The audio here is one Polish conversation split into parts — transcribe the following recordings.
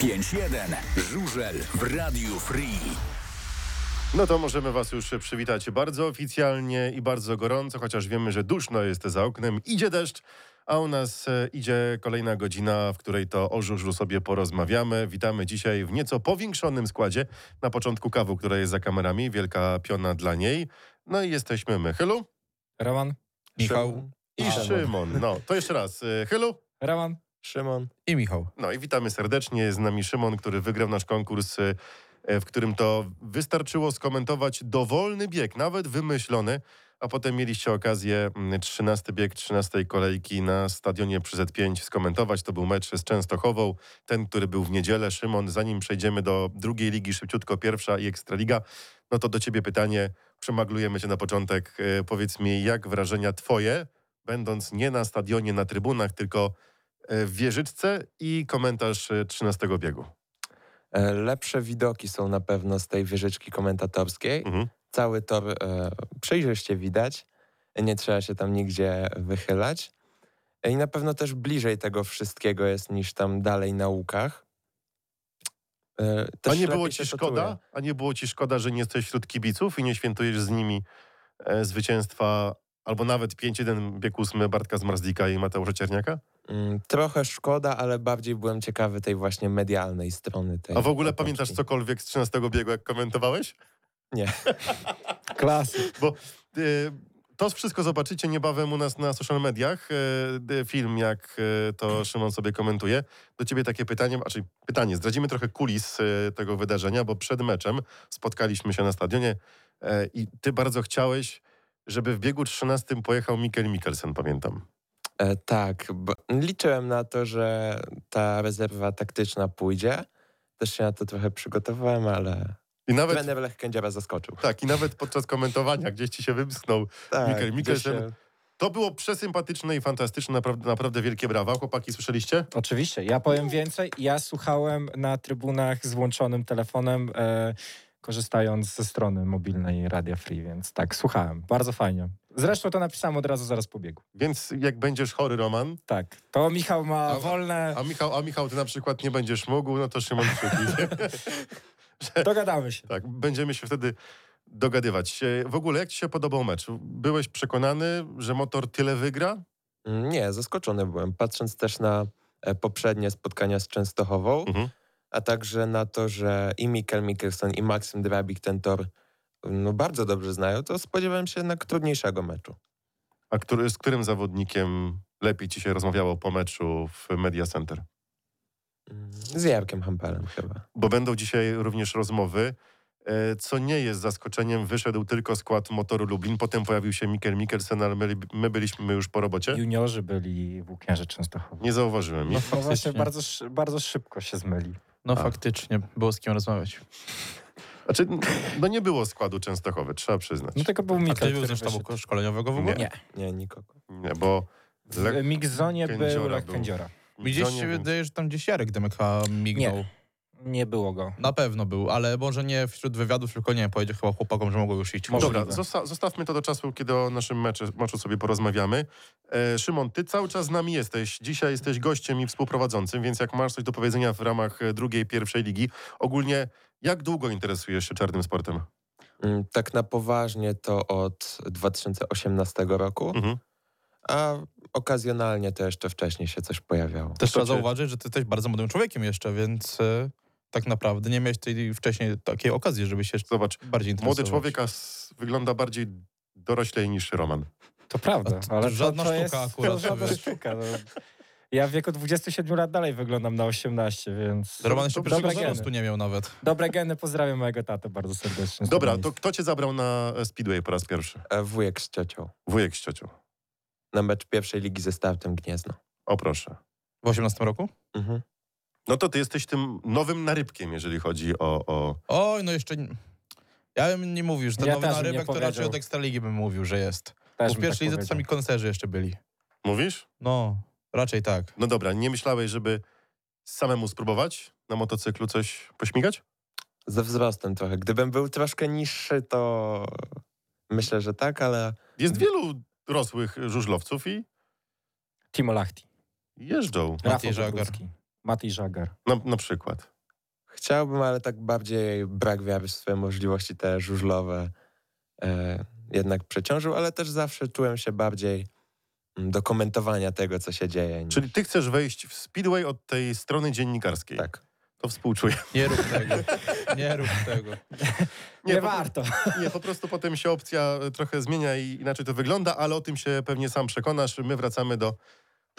5-1. Żużel w Radiu Free. No to możemy Was już przywitać bardzo oficjalnie i bardzo gorąco, chociaż wiemy, że duszno jest za oknem. Idzie deszcz, a u nas e, idzie kolejna godzina, w której to o żużlu sobie porozmawiamy. Witamy dzisiaj w nieco powiększonym składzie. Na początku kawu, która jest za kamerami, wielka piona dla niej. No i jesteśmy my, Chylu Raman, Michał i Szymon. No, to jeszcze raz, e, Chylu. Raman Szymon. i Michał. No i witamy serdecznie. Jest z nami Szymon, który wygrał nasz konkurs, y, e, w którym to wystarczyło skomentować dowolny bieg, nawet wymyślony, a potem mieliście okazję mm, 13 bieg 13 kolejki na stadionie przy Z5 skomentować. To był mecz z Częstochową, ten, który był w niedzielę. Szymon, zanim przejdziemy do drugiej ligi, szybciutko pierwsza i Ekstraliga, no to do ciebie pytanie. Przemaglujemy cię na początek. E, Powiedz mi, jak wrażenia twoje, będąc nie na stadionie, na trybunach, tylko e, w wieżyczce i komentarz e, 13 biegu. E, Lepsze widoki są na pewno z tej wieżyczki komentatorskiej. Mhm. Cały tor e, przejrzyście widać. Nie trzeba się tam nigdzie wychylać. E, I na pewno też bliżej tego wszystkiego jest niż tam dalej na łukach. E, A też nie było lepiej ci się kotuje. szkoda? A nie było ci szkoda, że nie jesteś wśród kibiców i nie świętujesz z nimi e, zwycięstwa albo nawet 5-1 bieg 8 Bartka Zmarzlika i Mateusza Czerniaka? Mm, Trochę szkoda, ale bardziej byłem ciekawy tej właśnie medialnej strony. Tej A w ogóle otoczki. pamiętasz cokolwiek z 13 biegu, jak komentowałeś? Klasy. E, To wszystko zobaczycie niebawem u nas na social mediach. e, d- Film, jak e, to Szymon sobie komentuje. Do ciebie takie pytanie, znaczy pytanie, zdradzimy trochę kulis e, tego wydarzenia, bo przed meczem spotkaliśmy się na stadionie e, i ty bardzo chciałeś, żeby w biegu 13 pojechał Mikkel Mikkelsen, pamiętam. E, tak, bo liczyłem na to, że ta rezerwa taktyczna pójdzie. Też się na to trochę przygotowałem, ale I nawet, trener Lech Kędziora zaskoczył. tak, i nawet podczas komentowania gdzieś ci się wymsknął. Tak, Mikkel gdzieś Mikkelsen. się- To było przesympatyczne i fantastyczne, naprawdę, naprawdę wielkie brawa. Chłopaki, słyszeliście? Oczywiście, ja powiem więcej. Ja słuchałem na trybunach z włączonym telefonem, e, korzystając ze strony mobilnej Radia Free, więc tak, słuchałem. Bardzo fajnie. Zresztą to napisałem od razu zaraz po biegu. Więc jak będziesz chory, Roman, Tak, to Michał ma A- wolne, A Michał, a Michał, ty na przykład nie będziesz mógł, no to Szymon przyjdzie. dogadamy się. tak, będziemy się wtedy dogadywać. E, W ogóle, jak ci się podobał mecz? Byłeś przekonany, że motor tyle wygra? Mm, Nie, zaskoczony byłem, patrząc też na e, poprzednie spotkania z Częstochową, Mhm. a także na to, że i Mikkel Mikkelsen, i Maksym Drabik ten tor no, bardzo dobrze znają, to spodziewałem się jednak trudniejszego meczu. A który, z którym zawodnikiem lepiej ci się rozmawiało po meczu w Media Center? Mm, Z Jarkiem Hampelem chyba. Bo będą dzisiaj również rozmowy, e, co nie jest zaskoczeniem. Wyszedł tylko skład motoru Lublin, potem pojawił się Mikkel Mikkelsen, ale my, my byliśmy już po robocie. Juniorzy byli włókniarze Częstochowy. Nie zauważyłem ich. No właśnie, faktycznie. bardzo, szy- bardzo szybko się zmyli. No A. faktycznie, było z kim rozmawiać. Znaczy, no nie było składu Częstochowy, trzeba przyznać. No tylko był A Mikkel, ktoś był który ze sztabu wyszedł. szkoleniowego w ogóle? Nie. Nie, nikogo. Nie, bo... dla- W Mixzonie był Kędziora Lech był. Kędziora. Gdzieś się więc- wydaje, że tam gdzieś Jarek Demyka mignął. Nie. Nie było go. Na pewno był, ale może nie wśród wywiadów, tylko nie wiem, powiedział chyba chłopakom, że mogą już iść. Może. Dobra, Możliwe. zosta- zostawmy to do czasu, kiedy o naszym meczu, meczu sobie porozmawiamy. E, Szymon, ty cały czas z nami jesteś. Dzisiaj jesteś gościem i współprowadzącym, więc jak masz coś do powiedzenia w ramach e, drugiej, pierwszej ligi, ogólnie jak długo interesujesz się czarnym sportem? Mm, Tak na poważnie to od 2018 roku, Mhm. a okazjonalnie to jeszcze wcześniej się coś pojawiało. Też trzeba cię- zauważyć, że ty jesteś bardzo młodym człowiekiem jeszcze, więc e, tak naprawdę nie miałeś tej wcześniej takiej okazji, żeby się Zobacz, bardziej interesować. młody człowiek a s- wygląda bardziej doroślej niż Roman. To prawda, A to ale żadna to, to sztuka jest, akurat, To to żadna wiesz. sztuka. No. Ja w wieku 27 lat dalej wyglądam na 18, więc... Roman To jeszcze dobre, pierwszego geny. wzrostu nie miał nawet. dobre geny, pozdrawiam mojego tatę bardzo serdecznie. z tego Dobra, miejsca. to kto cię zabrał na e, Speedway po raz pierwszy? E, Wujek z ciocią Wujek z ciocią. na mecz pierwszej ligi ze startem Gniezno. O proszę. W 18 roku? Mhm. No to ty jesteś tym nowym narybkiem, jeżeli chodzi o... o... Oj, no jeszcze... nie- Ja bym nie mówił, że ten Ja nowy też bym nie narybek to raczej powiedział. od Ekstraligi bym mówił, że jest. Też Bo w bym pierwszej tak lidze to sami powiedział. koncerzy jeszcze byli. Mówisz? No, raczej tak. No dobra, nie myślałeś, żeby samemu spróbować na motocyklu coś pośmigać? Ze wzrostem trochę. Gdybym był troszkę niższy, to myślę, że tak, ale Jest wielu rosłych żużlowców i Timo Lahti, jeżdżą. Maciej Rafał Żagar. Żagorski. Matej Żagar. Na, na przykład. Chciałbym, ale tak bardziej brak wiary w swoje możliwości te żużlowe e, jednak przeciążył, ale też zawsze czułem się bardziej mm, do komentowania tego, co się dzieje. niż- Czyli ty chcesz wejść w Speedway od tej strony dziennikarskiej. Tak. To współczuję. Nie rób tego. Nie rób tego. Nie, Nie, po- warto. Nie, po prostu potem się opcja e, trochę zmienia i inaczej to wygląda, ale o tym się pewnie sam przekonasz. My wracamy do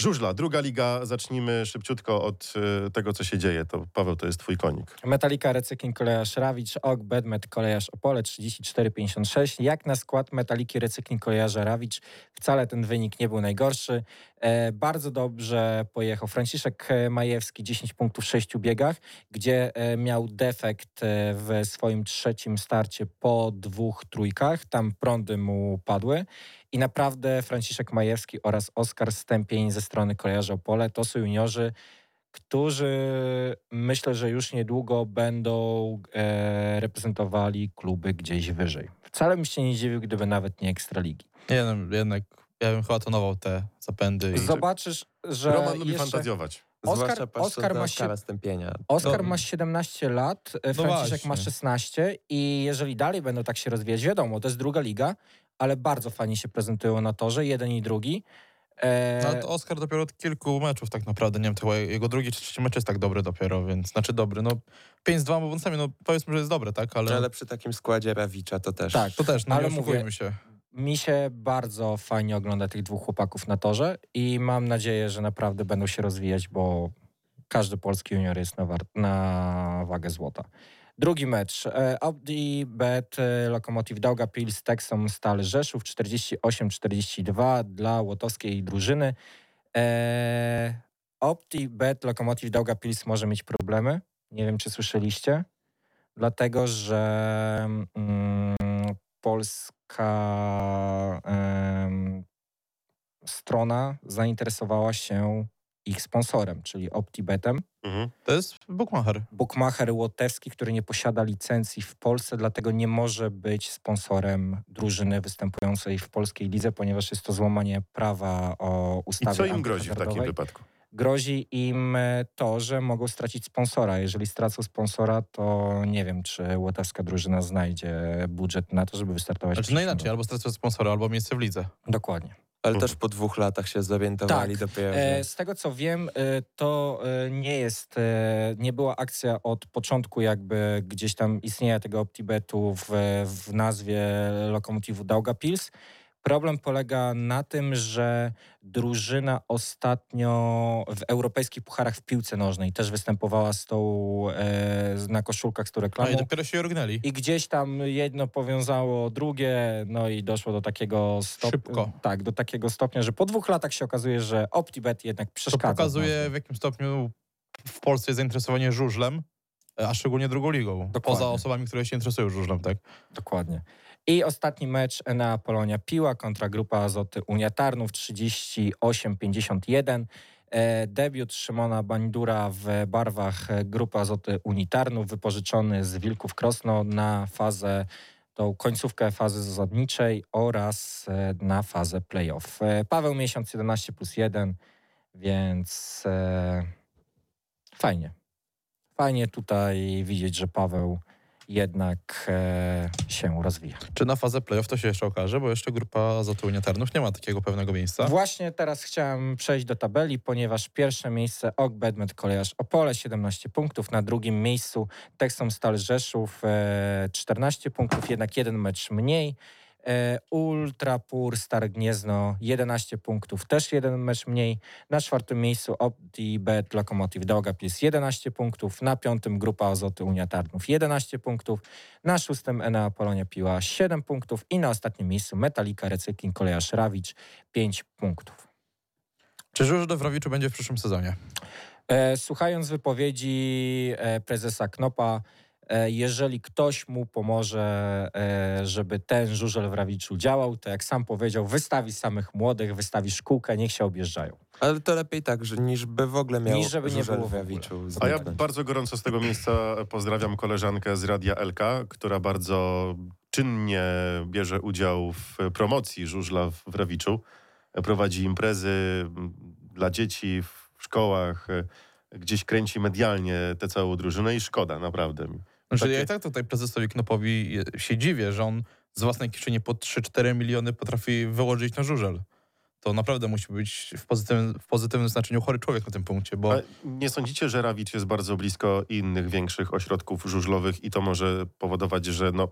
żużla. Druga liga. Zacznijmy szybciutko od e, tego, co się dzieje. To Paweł, to jest twój konik. Metalika Recykling Kolejarz Rawicz, OK Bedmet Kolejarz Opole 34,56. Jak na skład Metaliki Recykling Kolejarza Rawicz wcale ten wynik nie był najgorszy. E, bardzo dobrze pojechał Franciszek e, Majewski, 10 punktów w 6 biegach, gdzie e, miał defekt e, w swoim trzecim starcie po dwóch trójkach. Tam prądy mu padły. I naprawdę Franciszek Majewski oraz Oskar Stępień ze strony Kolejarza Opole to są juniorzy, którzy myślę, że już niedługo będą e, reprezentowali kluby gdzieś wyżej. Wcale bym się nie dziwił, gdyby nawet nie Ekstraligi. Nie, no, jednak ja bym chyba tonował te zapędy. I... Zobaczysz, że Roman lubi jeszcze- fantazjować. Oskar- Zwłaszcza patrząc Oskar na ma się- Oskara Stępienia. Oskar No. ma 17 lat, e, Franciszek ma właśnie. 16 i jeżeli dalej będą tak się rozwijać, wiadomo, to jest druga liga, ale bardzo fajnie się prezentują na torze, jeden i drugi. E, No, ale to Oskar dopiero od kilku meczów tak naprawdę, nie wiem, to chyba jego drugi czy trzeci mecz jest tak dobry dopiero, więc, znaczy dobry, no 5-2 obrońcami, no powiedzmy, że jest dobre, tak, ale, Ale przy takim składzie Rawicza to też. Tak. to też, no ale nie mówię- oszukujmy się. Mi się bardzo fajnie ogląda tych dwóch chłopaków na torze i mam nadzieję, że naprawdę będą się rozwijać, bo każdy polski junior jest na, war- na wagę złota. Drugi mecz. e, Audi Bet e, Lokomotiv Dauga Pils Texom Stal Rzeszów 48-42 dla łotowskiej drużyny. E, Opti Bet Lokomotiv Dauga Pils może mieć problemy. Nie wiem, czy słyszeliście. Dlatego, że mm, polska em, strona zainteresowała się ich sponsorem, czyli OptiBetem. Mhm. To jest bookmacher. Bukmacher łotewski, który nie posiada licencji w Polsce, dlatego nie może być sponsorem drużyny występującej w polskiej lidze, ponieważ jest to złamanie prawa o I ustawie co im grozi w takim antyhazardowej wypadku? grozi im e, to, że mogą stracić sponsora. Jeżeli stracą sponsora, to nie wiem, czy łotewska drużyna znajdzie budżet na to, żeby wystartować. w Znaczy, no przyszłym inaczej, roku. albo stracę sponsora, albo miejsce w lidze. Dokładnie. Ale też po dwóch latach się zorientowali Tak. dopiero. E, Że... z tego co wiem, e, to e, nie jest, e, nie była akcja od początku jakby gdzieś tam istnienia tego OptiBetu w, w nazwie lokomotywu Dauga Pils. Problem polega na tym, że drużyna ostatnio w europejskich pucharach w piłce nożnej też występowała z tą, e, z- na koszulkach z tą No reklamą. i dopiero się urgnęli. I gdzieś tam jedno powiązało drugie, no i doszło do takiego stopnia. Szybko. Tak, do takiego stopnia, że po dwóch latach się okazuje, że OptiBet jednak To przeszkadza. no. pokazuje, w jakim stopniu w Polsce jest zainteresowanie żużlem, e, a szczególnie drugą ligą. Dokładnie. Poza osobami, które się interesują żużlem, tak? Dokładnie. I ostatni mecz na Polonia Piła kontra grupa Azoty Unia Tarnów 38-51. E, Debiut Szymona Bandura w barwach e, grupy Azoty Unii Tarnów wypożyczony z Wilków Krosno na fazę tą końcówkę fazy zasadniczej oraz e, na fazę playoff. E, Paweł Miesiąc 11 plus 1, więc e, fajnie. Fajnie tutaj widzieć, że Paweł jednak e, się rozwija. Czy na fazę playoff to się jeszcze okaże, bo jeszcze grupa Zatołnia Tarnów nie ma takiego pewnego miejsca. Właśnie teraz chciałem przejść do tabeli, ponieważ pierwsze miejsce OK Bedmet Kolejarz Opole 17 punktów, na drugim miejscu Texom Stal Rzeszów e, 14 punktów, jednak jeden mecz mniej. E, Ultra Pur Star Gniezno 11 punktów, też jeden mecz mniej. Na czwartym miejscu OptiBet Lokomotiv Daugavpils 11 punktów, na piątym Grupa Azoty Unia Tarnów 11 punktów, na szóstym Enea Polonia Piła 7 punktów i na ostatnim miejscu Metalika Recykling Kolejarz Rawicz 5 punktów. Czy żużel w Rawiczu będzie w przyszłym sezonie? E, słuchając wypowiedzi e, prezesa Knopa, e, jeżeli ktoś mu pomoże, e, żeby ten żużel w Rawiczu działał, to jak sam powiedział, wystawi samych młodych, wystawi szkółkę, niech się objeżdżają. Ale to lepiej tak, że, niż by w ogóle miał Niż żeby nie żużel było w w ogóle. Rawiczu A ja zniknąć. bardzo gorąco z tego miejsca pozdrawiam koleżankę z Radia LK, która bardzo czynnie bierze udział w promocji żużla w w Rawiczu. Prowadzi imprezy m, dla dzieci w szkołach, e, gdzieś kręci medialnie tę całą drużynę i szkoda, naprawdę. Znaczy, Takie- ja i tak tutaj prezesowi Knopowi je- się dziwię, że on z własnej kieszeni po 3-4 miliony potrafi wyłożyć na żużel. To naprawdę musi być w pozytywnym, w pozytywnym znaczeniu chory człowiek na tym punkcie, bo A nie sądzicie, że Rawicz jest bardzo blisko innych większych ośrodków żużlowych i to może powodować, że no,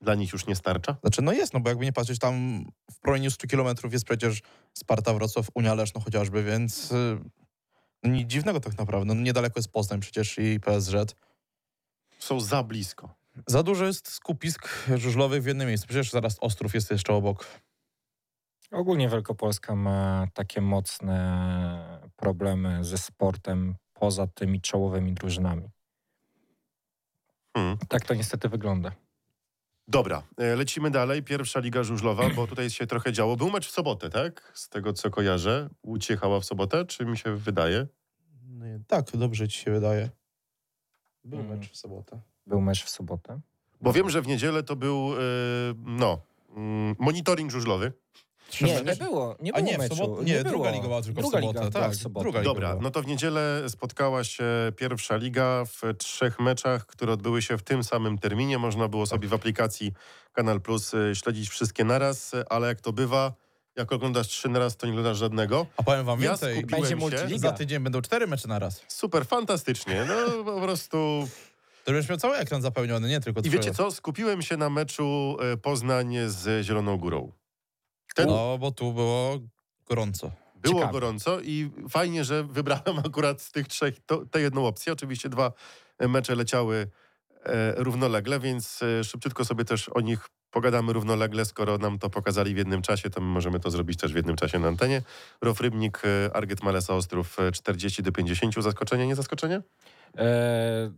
dla nich już nie starcza? znaczy no jest, no bo jakby nie patrzeć, tam w promieniu 100 kilometrów jest przecież Sparta Wrocław, Unia Leszno chociażby, więc y, no nic dziwnego tak naprawdę. No, niedaleko jest Poznań przecież i PSZ. Są za blisko. Za dużo jest skupisk żużlowych w jednym miejscu. Przecież zaraz Ostrów jest jeszcze obok. Ogólnie Wielkopolska ma takie mocne problemy ze sportem poza tymi czołowymi drużynami. Hmm. Tak to niestety wygląda. Dobra, e, lecimy dalej. Pierwsza Liga Żużlowa, bo tutaj się trochę działo. Był mecz w sobotę, tak? Z tego, co kojarzę. Łódź jechała w sobotę, czy mi się wydaje? Tak, dobrze ci się wydaje. Był Mm. mecz w sobotę. Był mecz w sobotę. Bo wiem, że w niedzielę to był, e, no, mm, monitoring żużlowy. Nie, e, nie było, nie A było nie, w meczu. sobot- nie, druga było. liga była tylko w druga sobotę, Liga, była tak, w sobotę. druga liga. Dobra, było. no to w niedzielę spotkała się pierwsza liga w trzech meczach, które odbyły się w tym samym terminie. Można było sobie w aplikacji Kanal Plus y, śledzić wszystkie naraz, y, ale jak to bywa, jak oglądasz trzy naraz, to nie oglądasz żadnego. A powiem wam Ja No więcej, skupiłem Będzie się. multiliga. za tydzień będą cztery mecze na raz. Super, fantastycznie. No po prostu. To będziesz miał cały ekran zapełniony, nie tylko I twoje. wiecie co? Skupiłem się na meczu y, Poznań z Zieloną Górą. Ten No No, bo tu było gorąco. było ciekawy. gorąco i fajnie, że wybrałem akurat z tych trzech to, tę jedną opcję. Oczywiście dwa mecze leciały e, równolegle, więc e, szybciutko sobie też o nich pogadamy równolegle. Skoro nam to pokazali w jednym czasie, to my możemy to zrobić też w jednym czasie na antenie. Rof Rybnik, e, Arget Malesa Ostrów e, 40 do 50. Zaskoczenie, nie zaskoczenie? E,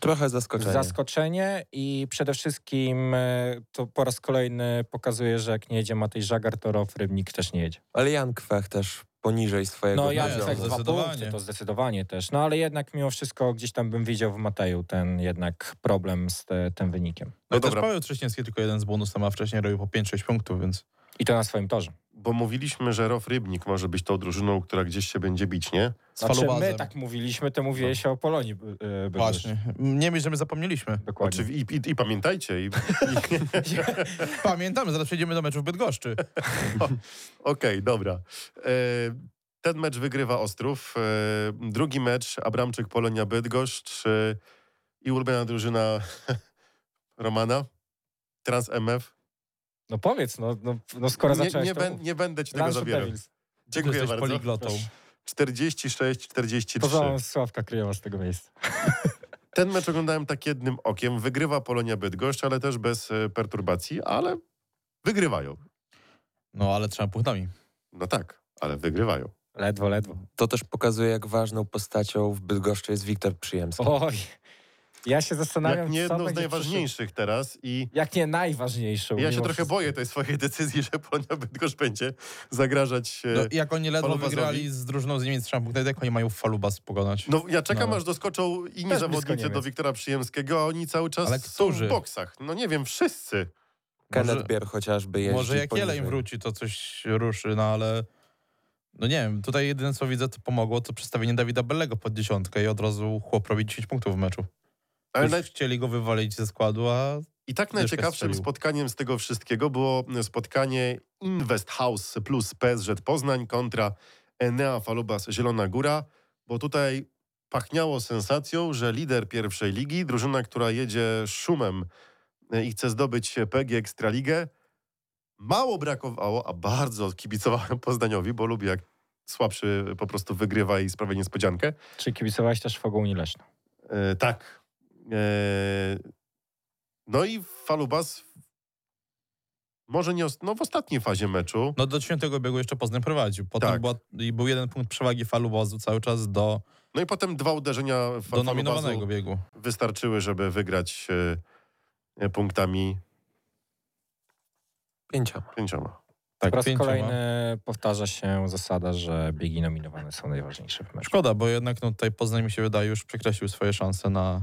Trochę zaskoczenie. Zaskoczenie i przede wszystkim e, to po raz kolejny pokazuje, że jak nie jedzie Matej Żagar, to Rof Rybnik też nie jedzie. Ale Jan Kwech też poniżej swojego No ja Jan poziomu. tak Kwech dwa zdecydowanie. punkty, to zdecydowanie też. No ale jednak mimo wszystko gdzieś tam bym widział w Mateju ten jednak problem z te, tym wynikiem. No i też dobra. Paweł Trześniewski tylko jeden z bonusem, a wcześniej robił po 5-6 punktów, więc I to na swoim torze. Bo mówiliśmy, że Rof Rybnik może być tą drużyną, która gdzieś się będzie bić, nie? z Znaczy falubazem. my tak mówiliśmy, to mówiłeś się o Polonii. by- e, by- Właśnie. Nie myśl, że my zapomnieliśmy. Dokładnie. Oczywi- i, i, I pamiętajcie, i, Pamiętamy, zaraz przejdziemy do meczu w Bydgoszczy. Okej, dobra. E, ten mecz wygrywa Ostrów. E, drugi mecz Abramczyk Polonia Bydgoszcz e, i ulubiona drużyna Romana. Trans MF. No powiedz, no, no, no skoro Nie, zacząłeś nie, to bę- mów. nie będę ci tego Lansu zabierał. Devils. Dziękuję Jesteś bardzo. poliglotą. Proszę. 46-43. Pozwolę Sławka Kryjowa z tego miejsca. Ten mecz oglądałem tak jednym okiem. Wygrywa Polonia Bydgoszcz, ale też bez e, perturbacji, ale wygrywają. No, ale trzeba punktami. No tak, ale wygrywają. Ledwo, ledwo. To też pokazuje, jak ważną postacią w Bydgoszczy jest Wiktor Przyjemski. Oj, ja się Jak zastanawiam, nie co jedną z będzie najważniejszych teraz i przyszło- Jak nie najważniejszą. Ja się mimo trochę wszystko. boję tej swojej decyzji, że Polonia Bydgoszcz będzie zagrażać. e, No, jak oni ledwo Falubazowi? wygrali z drużyną z Niemiec, trzeba punktami, jak oni mają falubaz pokonać? No ja czekam, no. aż doskoczą inni blisko zawodnicy Niemiec. do Wiktora Przyjemskiego, a oni cały czas Ale są którzy? w boksach. No nie wiem, wszyscy. Kenneth Bier chociażby jeździ Może jak poniżej. Jeleń wróci, to coś ruszy, no ale... No nie wiem, tutaj jedyne co widzę, to pomogło, to przedstawienie Dawida Bellego pod dziesiątkę i od razu chłop robi 10 punktów w meczu. Ale Już naj... chcieli go wywalić ze składu, a I tak Dyszkę najciekawszym strzelił. spotkaniem z tego wszystkiego było e, spotkanie Invest House plus PSZ Poznań kontra Enea Falubas Zielona Góra, bo tutaj pachniało sensacją, że lider pierwszej ligi, drużyna, która jedzie szumem e, i chce zdobyć PG Ekstraligę, mało brakowało, a bardzo kibicowałem Poznaniowi, bo lubię jak słabszy po prostu wygrywa i sprawia niespodziankę. Czy kibicowałeś też Fogołni Leszno? E, tak. E, no i Falubas może nie ost- no w ostatniej fazie meczu. No do dziesiątego biegu jeszcze Poznań prowadził. Potem Tak. była, i był jeden punkt przewagi falubozu cały czas do, No i potem dwa uderzenia Fa- do Falubazu Tak, nominowanego biegu. wystarczyły, żeby wygrać e, e, punktami Pięcioma. pięcioma. Tak, Po raz pięcioma. kolejny powtarza się zasada, że biegi nominowane są najważniejsze w meczu. Szkoda, bo jednak no, tutaj Poznań mi się wydaje już przekreślił swoje szanse na,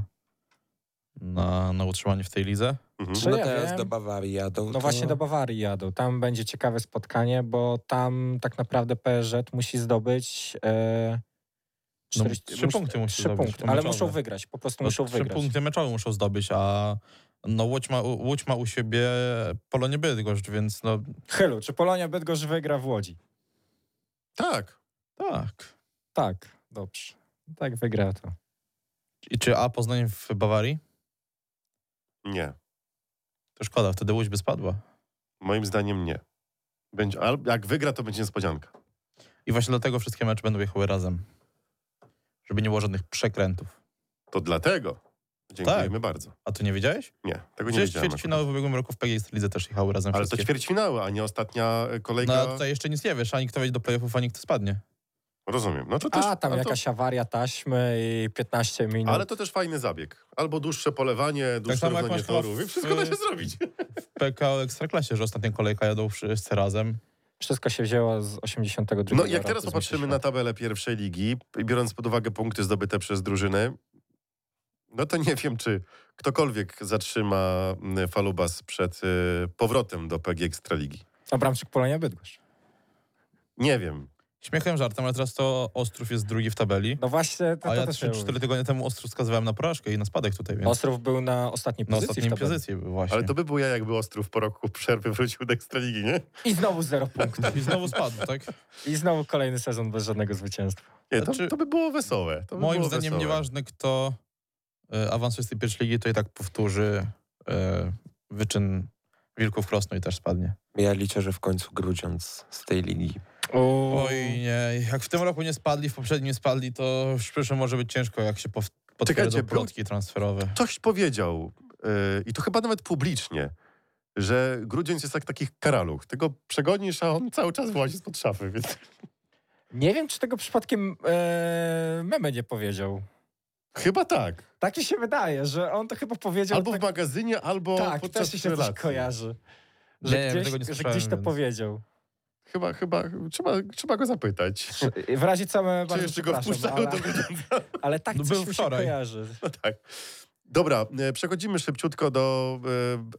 na, na utrzymanie w tej lidze. Mhm. Czy No ja teraz wiem? do Bawarii jadą. No właśnie do Bawarii jadą. Tam będzie ciekawe spotkanie, bo tam tak naprawdę PSZ musi zdobyć e, No, Czterdzieści- trzy mus- punkty musi trzy zdobyć, punkty, to ale meczowe. muszą wygrać, po prostu No, muszą trzy wygrać. punkty meczowe muszą zdobyć, a no Łódź ma, Łódź ma u siebie Polonię Bydgoszcz, więc no Chylu, czy Polonia Bydgoszcz wygra w Łodzi? Tak. tak. Tak, dobrze. Tak wygra to. I czy A Poznań w Bawarii? Nie. To szkoda, wtedy Łódź by spadła. Moim zdaniem nie. Będzie, al- jak wygra, to będzie niespodzianka. I właśnie dlatego wszystkie mecze będą jechały razem. Żeby nie było żadnych przekrętów. To dlatego. Dziękujemy bardzo. A ty nie wiedziałeś? Nie, tego nie Przecież wiedziałem. ćwierćfinały Tak. w ubiegłym roku w PGS Lidze też jechały razem Ale to wszystkie. ćwierćfinały, a nie ostatnia e, No kolejka. ale tutaj jeszcze nic nie wiesz, ani kto wejdzie do playoffów, ani kto spadnie. Rozumiem. No to też, A, tam ale, to, jakaś awaria taśmy i 15 minut. ale to też fajny zabieg. Albo dłuższe polewanie, dłuższe No. Tak samo jak równanie masz chyba torów. I w- wszystko da się zrobić. W PKO Ekstraklasie, że ostatnia kolejka jadą wszyscy razem. Wszystko się wzięło z 82 No jak roku, teraz z popatrzymy Mistrzostw na tabelę pierwszej ligi, i biorąc pod uwagę punkty zdobyte przez drużyny, no to nie wiem, czy ktokolwiek zatrzyma mm, Falubas przed y, powrotem do PG Ekstraligi. A No, Bramczyk Polonia Bydgoszcz. Nie wiem. Śmiechem, żartem, ale teraz to Ostrów jest drugi w tabeli. No właśnie, to, A to ja też 3-4 tygodnie temu Ostrów skazywałem na porażkę i na spadek tutaj, więc Ostrów był na ostatniej na pozycji. w ostatniej tabeli. pozycji był właśnie. Ale to by był ja, jakby Ostrów po roku przerwy wrócił do Ekstraligi, nie? I znowu zero punktów. I znowu spadł, tak? I znowu kolejny sezon bez żadnego zwycięstwa. nie to, Znaczy, to by było wesołe. To by Moim było zdaniem wesołe. nieważne, kto y, awansuje z tej pierwszej ligi, to i tak powtórzy y, wyczyn Wilków Krosno i też spadnie. Ja liczę, że w końcu grudziąc z tej ligi. Oj nie, jak w tym roku nie spadli, w poprzednim spadli, to w przyszłym może być ciężko, jak się pow- potwierdzą Czekajcie, był- plotki transferowe. Ktoś powiedział, y, i to chyba nawet publicznie, że grudzień jest jak takich karaluch. Ty go przegonisz, a on cały czas włazi spod szafy, więc... Nie wiem, czy tego przypadkiem e, Meme nie powiedział. Chyba tak. Tak mi się wydaje, że on to chyba powiedział. Albo tak, w magazynie, albo tak, podczas też mi się relacji. coś kojarzy. Nie, Że, ja gdzieś, tego nie że słyszałem, gdzieś to więc- powiedział. Chyba, chyba, trzeba, trzeba go zapytać. W razie co Meme Czy bardzo jeszcze go przepraszam, wpuszczają ale, do ale tak No coś był mi się wczoraj. kojarzy. No tak. Dobra, e, przechodzimy szybciutko do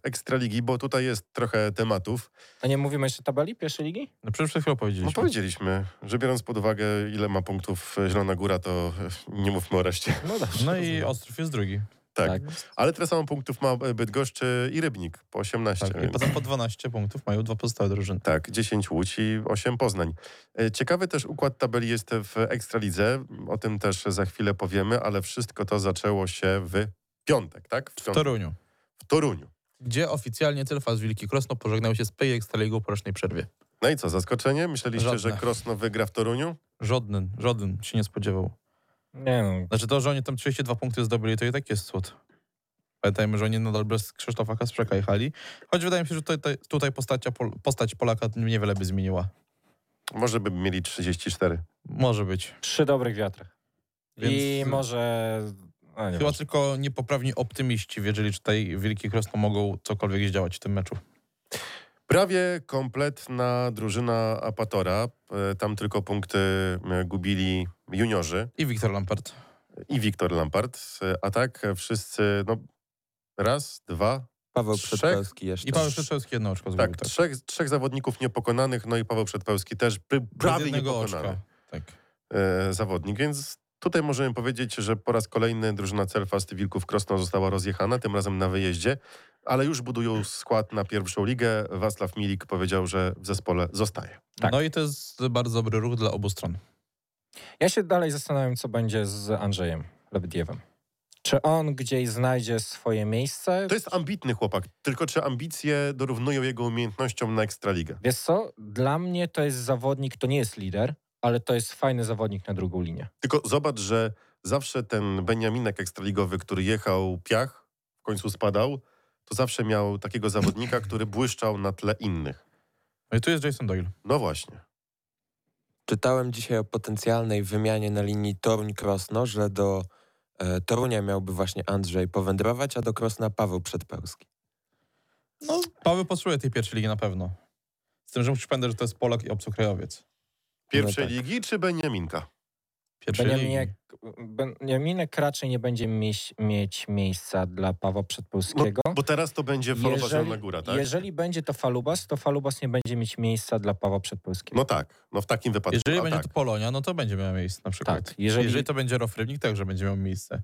e, Ekstraligi, bo tutaj jest trochę tematów. A No nie mówimy jeszcze tabeli pierwszej ligi? No przecież przed chwilą No powiedzieliśmy. powiedzieliśmy, że biorąc pod uwagę, ile ma punktów e, Zielona Góra, to e, nie mówmy o reszcie. No dobrze. No i Ostrów jest drugi. Tak. Ale tyle samo punktów ma e, Bydgoszczy i Rybnik, po 18. Tak. I więc- potem po 12 punktów mają dwa pozostałe drużyny. Tak, 10 Łódź i 8 Poznań. E, Ciekawy też układ tabeli jest w Ekstralidze, o tym też za chwilę powiemy, ale wszystko to zaczęło się w piątek, tak? W, W piątek, Toruniu, w Toruniu. gdzie oficjalnie Tylfas Wilki Krosno pożegnał się z PJ Ekstraligą po rocznej przerwie. No i co, zaskoczenie? Myśleliście, że Żadne. Krosno wygra w Toruniu? Żaden, żaden się nie spodziewał. Nie no, Znaczy to, że oni tam 32 punkty zdobyli, to i tak jest cud. Pamiętajmy, że oni nadal bez Krzysztofa Kasprzaka jechali. Choć wydaje mi się, że tutaj, tutaj postacia, Pol- postać Polaka niewiele by zmieniła. Może by mieli 34. Może być. przy dobrych wiatrach. I y, Więc- może... A, nie Chyba wiem. tylko niepoprawni optymiści wierzyli, że tutaj Wielki Krosno mogą cokolwiek zdziałać w tym meczu. Prawie kompletna drużyna Apatora. E, Tam tylko punkty e, gubili juniorzy I Wiktor Lampert. i Wiktor Lampart. E, A tak e, wszyscy, no raz, dwa, Paweł Trzech? Przedpełski jeszcze. I Paweł Szczerzewski jedno oczko zgubił. tak, trzech, trzech zawodników niepokonanych, no i Paweł Przedpełski też pr- Bez prawie jednego niepokonany oczka. Tak. e, zawodnik, więc tutaj możemy powiedzieć, że po raz kolejny drużyna Celfast i Wilków Krosno została rozjechana, tym razem na wyjeździe, ale już budują skład na pierwszą ligę. Wacław Milik powiedział, że w zespole zostaje. Tak. No i to jest bardzo dobry ruch dla obu stron. Ja się dalej zastanawiam, co będzie z Andrzejem Lebedziewem. Czy on gdzieś znajdzie swoje miejsce? To jest ambitny chłopak, tylko czy ambicje dorównują jego umiejętnościom na Ekstraligę? Wiesz co, dla mnie to jest zawodnik, to nie jest lider, ale to jest fajny zawodnik na drugą linię. Tylko zobacz, że zawsze ten Beniaminek ekstraligowy, który jechał piach, w końcu spadał, to zawsze miał takiego zawodnika, który błyszczał na tle innych. No i tu jest Jason Doyle. No właśnie. Czytałem dzisiaj o potencjalnej wymianie na linii Toruń-Krosno, że do e, Torunia miałby właśnie Andrzej powędrować, a do Krosna Paweł Przedpełski. No, Paweł potrzebuje tej pierwszej ligi na pewno. Z tym, że musisz pamiętać, że to jest Polak i obcokrajowiec. Pierwszej tak. ligi czy Beniaminka? Pierwszej Benjaminek, ligi. Benjaminek raczej nie będzie mieć, mieć miejsca dla Pawła No, Przedpolskiego. bo teraz to będzie falowa zielona góra, tak? jeżeli będzie to Falubas, to Falubas nie będzie mieć miejsca dla Pawła Przedpolskiego. No tak, no w takim wypadku. Jeżeli a będzie tak. to Polonia, no to będzie miał miejsce na przykład. Tak, jeżeli- jeżeli... to będzie Rofrybnik, także będzie miał miejsce.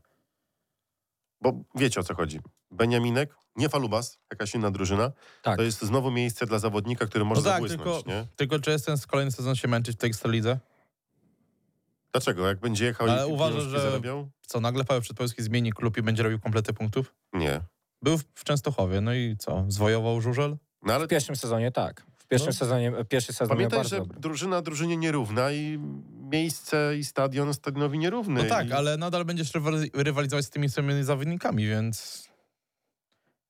Bo wiecie o co chodzi. Beniaminek, nie Falubas, jakaś inna drużyna. tak. To jest znowu miejsce dla zawodnika, który może tak, zabłysnąć, tylko- nie? Tylko czy jest ten kolejny sezon się męczyć w tej Ekstralidze? Dlaczego? Jak będzie jechał Ale i uważasz, pieniążki że- zarabiał? Co, nagle Paweł Przedpolski zmieni klub i będzie robił komplety punktów? Nie. Był w, w Częstochowie, no i co? Zwojował żużel? No ale W pierwszym sezonie tak. W pierwszym No. sezonie, pierwszy sezon był pamiętaj, bardzo że dobry. drużyna drużynie nierówna i miejsce i stadion stadionowi nierówny. No tak, I ale nadal będziesz rywali- rywalizować z tymi samymi zawodnikami, więc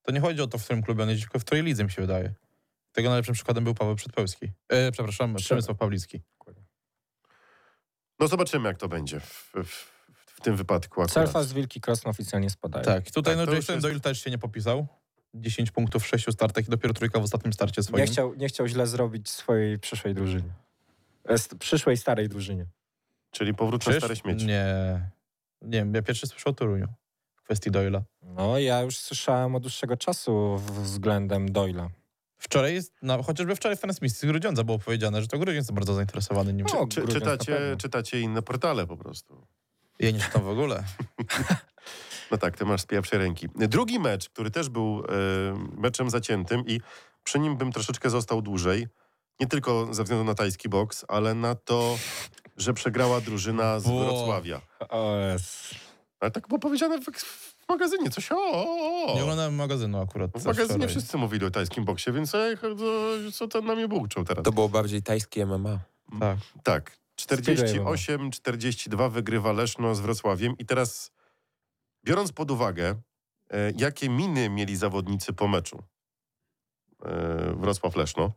to nie chodzi o to, w którym klubie on jeździ, tylko w której lidze mi się wydaje. Tego najlepszym przykładem był Paweł Przedpełski. E, przepraszam, Przemysław Pawlicki. No zobaczymy, jak to będzie w, w, w tym wypadku akurat. Celfas, Wilki, Krosno oficjalnie spadają. Tak, tutaj Tak, to no już Jason jest- Doyle też się nie popisał. 10 punktów w 6 startach i dopiero trójka w ostatnim starcie swoim. Nie chciał, nie chciał źle zrobić swojej przyszłej drużynie. E, st- Przyszłej starej drużynie. Czyli powrót na Czyż? stare śmieci. Nie. Nie wiem, ja pierwszy słyszę o Toruniu w kwestii Doyla. No, ja już słyszałem od dłuższego czasu w- względem Doyla. Wczoraj, jest, no, chociażby wczorrej w transmisji z Grudziądza było powiedziane, że to Grudziądz jest bardzo zainteresowany nim. No. Czy, Grudziądz na czytacie, pewno. czytacie inne portale po prostu. Ja nie czytam w ogóle. No tak, ty masz z pierwszej ręki. Drugi mecz, który też był e, meczem zaciętym i przy nim bym troszeczkę został dłużej. Nie tylko ze względu na tajski boks, ale na to, że przegrała drużyna z Bo- Wrocławia. OS. Ale tak było powiedziane w, w magazynie, coś o, o, Nie o. oglądałem magazynu akurat. W co magazynie wczoraj. wszyscy mówili o tajskim boksie, więc ej, co- co ten na mnie bułczą teraz? To było bardziej tajskie MMA. Tak. Tak. Spierdolę, 48-42 wygrywa Leszno z Wrocławiem. I teraz, biorąc pod uwagę, e, jakie miny mieli zawodnicy po meczu e, Wrocław-Leszno,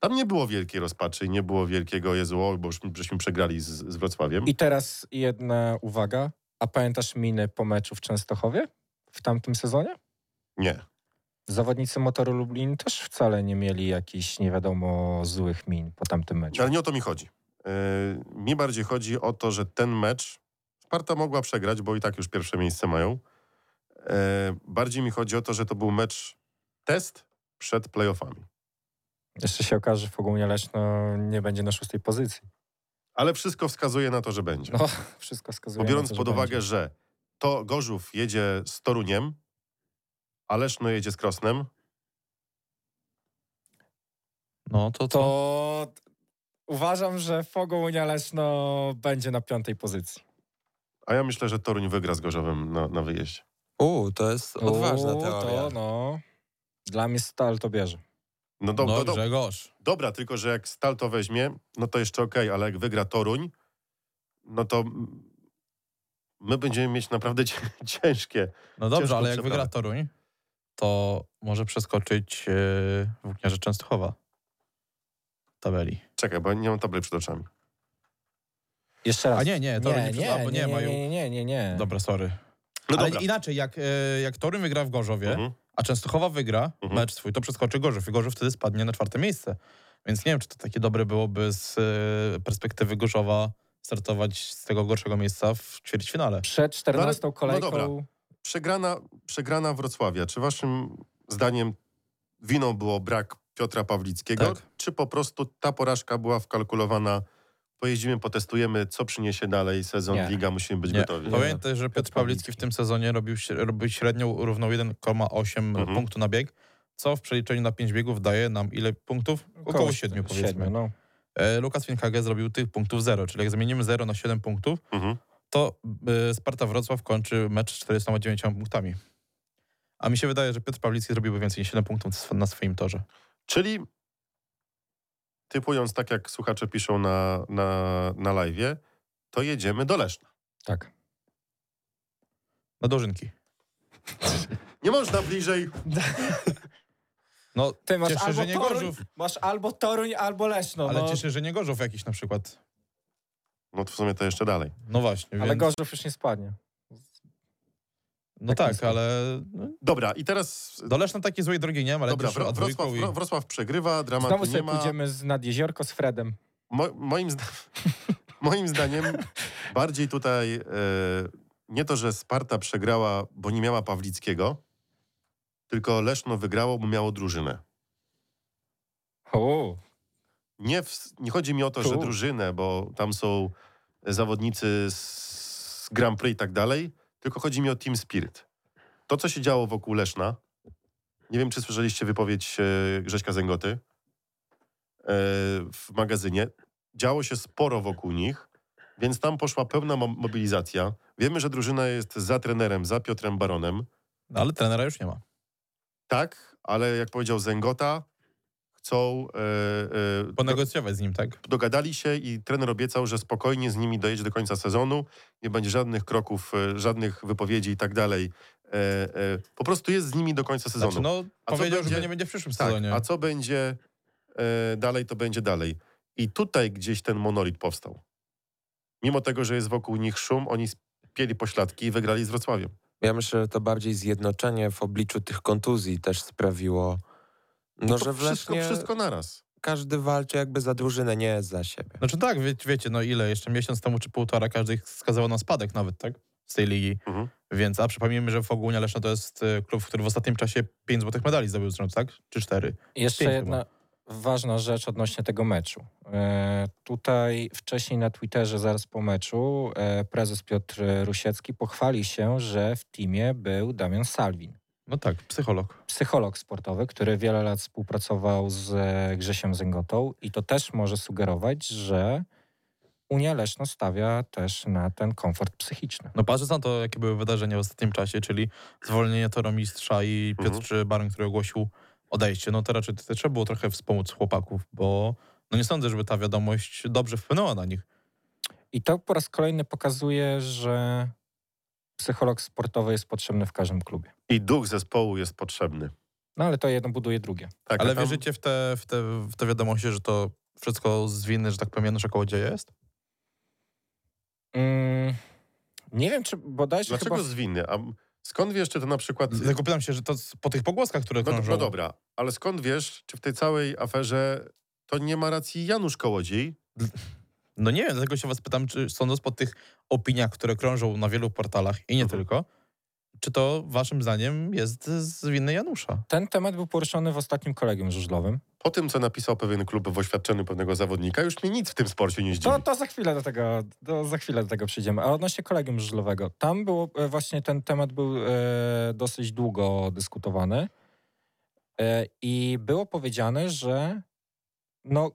tam nie było wielkiej rozpaczy, i nie było wielkiego Jezu, o, bo już żeśmy przegrali z, z Wrocławiem. I teraz jedna uwaga. A pamiętasz miny po meczu w Częstochowie w tamtym sezonie? Nie. Zawodnicy Motoru Lublin też wcale nie mieli jakichś nie wiadomo złych min po tamtym meczu. Ale nie o to mi chodzi. E, Mi bardziej chodzi o to, że ten mecz Sparta mogła przegrać, bo i tak już pierwsze miejsce mają. E, Bardziej mi chodzi o to, że to był mecz test przed playoffami. Jeszcze się okaże, że Fogunia Leszno nie będzie na szóstej pozycji. Ale wszystko wskazuje na to, że będzie. No, wszystko Bo wskazuje biorąc na to, że pod uwagę, będzie. że to Gorzów jedzie z Toruniem, Aleszno jedzie z Krosnem, No to to. To uważam, że Fogunia Leszno będzie na piątej pozycji. a ja myślę, że Toruń wygra z Gorzowem na, na wyjeździe. U, to jest odważna U, teoria. To no. Dla mnie stal to bierze. No, do, no do, do, Grzegorz. dobra, tylko że jak Stal to weźmie, no to jeszcze okej, ale jak wygra Toruń, no to mm, my będziemy mieć naprawdę cię- ciężkie. No dobrze, Ciężko ale jak przeprawę. wygra Toruń, to może przeskoczyć yy, włókniarze Częstochowa w tabeli. Czekaj, bo nie mam tabeli przed oczami. Jeszcze raz. A nie, nie, Toruń nie przed- albo nie, mają- nie, nie, nie, nie. Dobra, sorry. No ale dobra. inaczej, jak, e, jak Toruń wygra w Gorzowie, Mhm. a Częstochowa wygra Mhm. mecz swój, to przeskoczy Gorzów i Gorzów wtedy spadnie na czwarte miejsce. Więc nie wiem, czy to takie dobre byłoby z e, perspektywy Gorzowa startować z tego gorszego miejsca w ćwierćfinale. Przed 14 No ale- no kolejką. dobra. Przegrana, przegrana Wrocławia, czy waszym zdaniem winą było brak Piotra Pawlickiego, Tak. czy po prostu ta porażka była wkalkulowana, pojeździmy, potestujemy, co przyniesie dalej sezon, Nie. liga, musimy być Nie. gotowi. Pamiętaj, że Piotr Pawlicki. Pawlicki w tym sezonie robił, śre- robił średnią równą 1,8 Mhm. punktu na bieg, co w przeliczeniu na 5 biegów daje nam ile punktów? Około 7 powiedzmy. siedmiu, no. E, Lukas Finhage zrobił tych punktów 0, czyli jak zmienimy 0 na 7 punktów, Mhm. to e, Sparta Wrocław kończy mecz 49 punktami. A mi się wydaje, że Piotr Pawlicki zrobiłby więcej niż 7 punktów sw- na swoim torze. Czyli typując tak, jak słuchacze piszą na, na, na live, to jedziemy do Leszna. Tak. Na dożynki. Nie można bliżej. No, Ty masz cieszę, albo że nie Toruń, Gorzów. Masz albo Toruń, albo Leszno. Ale no. cieszę, że nie Gorzów jakiś na przykład. No to w sumie to jeszcze dalej. No właśnie, ale więc, Gorzów już nie spadnie. no tak, ale no, Dobra, i teraz... do Leszna takiej złej drogi nie ma, ale Dobra, też Wro- o Wrocław, dwójką i... Wro- Wrocław przegrywa, dramatu Znowu nie sobie ma. pójdziemy z nad jeziorko z Fredem. Mo- moim, zda- Moim zdaniem bardziej tutaj e, nie to, że Sparta przegrała, bo nie miała Pawlickiego, tylko Leszno wygrało, bo miało drużynę. O, Nie, w, nie chodzi mi o to, że Tu. drużynę, bo tam są zawodnicy z, z Grand Prix i tak dalej, tylko chodzi mi o Team Spirit. To, co się działo wokół Leszna, nie wiem, czy słyszeliście wypowiedź e, Grześka Zęgoty e, w magazynie. Działo się sporo wokół nich, więc tam poszła pełna mo- mobilizacja. Wiemy, że drużyna jest za trenerem, za Piotrem Baronem. No, ale trenera już nie ma. Tak, ale jak powiedział Zęgota, chcą e, e, Ponegocjować z nim, tak? dogadali się i trener obiecał, że spokojnie z nimi dojedzie do końca sezonu, nie będzie żadnych kroków, e, żadnych wypowiedzi i tak dalej. E, e, Po prostu jest z nimi do końca sezonu. Znaczy, no, A co powiedział, że będzie- go nie będzie w przyszłym tak, sezonie. a co będzie e, dalej, to będzie dalej. I tutaj gdzieś ten monolit powstał. Mimo tego, że jest wokół nich szum, oni spieli pośladki i wygrali z Wrocławiem. Ja myślę, że to bardziej zjednoczenie w obliczu tych kontuzji też sprawiło, no, to że w wszystko, Lesznie wszystko naraz. każdy walczy jakby za drużynę, nie za siebie. Znaczy tak, wie, wiecie, no ile, jeszcze miesiąc temu czy półtora każdy skazywał na spadek nawet, tak? Z tej ligi. Mhm. Więc, a przypomnijmy, że w ogóle Leszno to jest e, klub, który w ostatnim czasie 5 złotych medali zdobył z rzędu, tak? Czy 4? Jeszcze Pięć jedna ważna rzecz odnośnie tego meczu. E, tutaj wcześniej na Twitterze, zaraz po meczu, e, prezes Piotr Rusiecki pochwali się, że w teamie był Damian Salwin. No tak, psycholog. Psycholog sportowy, który wiele lat współpracował z e, Grzesiem Zyngotą i to też może sugerować, że Unia Leszno stawia też na ten komfort psychiczny. No patrząc na to, jakie były wydarzenia w ostatnim czasie, czyli zwolnienie toromistrza i Mhm. Piotr Baron, który ogłosił odejście, no to raczej to trzeba było trochę wspomóc chłopaków, bo no nie sądzę, żeby ta wiadomość dobrze wpłynęła na nich. I to po raz kolejny pokazuje, że psycholog sportowy jest potrzebny w każdym klubie. I duch zespołu jest potrzebny. No ale to jedno buduje drugie. Tak, a Ale tam- wierzycie w te, w, te, w te wiadomości, że to wszystko z winy, że tak powiem, Janusza Kołodzieja jest? Mm, nie wiem, czy bodajże Dlaczego chyba... z winy? A skąd wiesz, czy to na przykład... Tylko pytam się, że to z- po tych pogłoskach, które No, krążą... no dobra, ale skąd wiesz, czy w tej całej aferze to nie ma racji Janusz Kołodziej? No nie wiem, dlatego się was pytam, czy sądząc po tych opiniach, które krążą na wielu portalach i nie Mhm. tylko, czy to waszym zdaniem jest z winy Janusza? Ten temat był poruszony w ostatnim kolegium żużlowym. Po tym, co napisał pewien klub w oświadczeniu pewnego zawodnika, już mnie nic w tym sporcie nie zdziwi. No To, to za chwilę do tego, to za chwilę do tego przyjdziemy. A odnośnie kolegium żużlowego, tam było e, właśnie ten temat był e, dosyć długo dyskutowany e, i było powiedziane, że no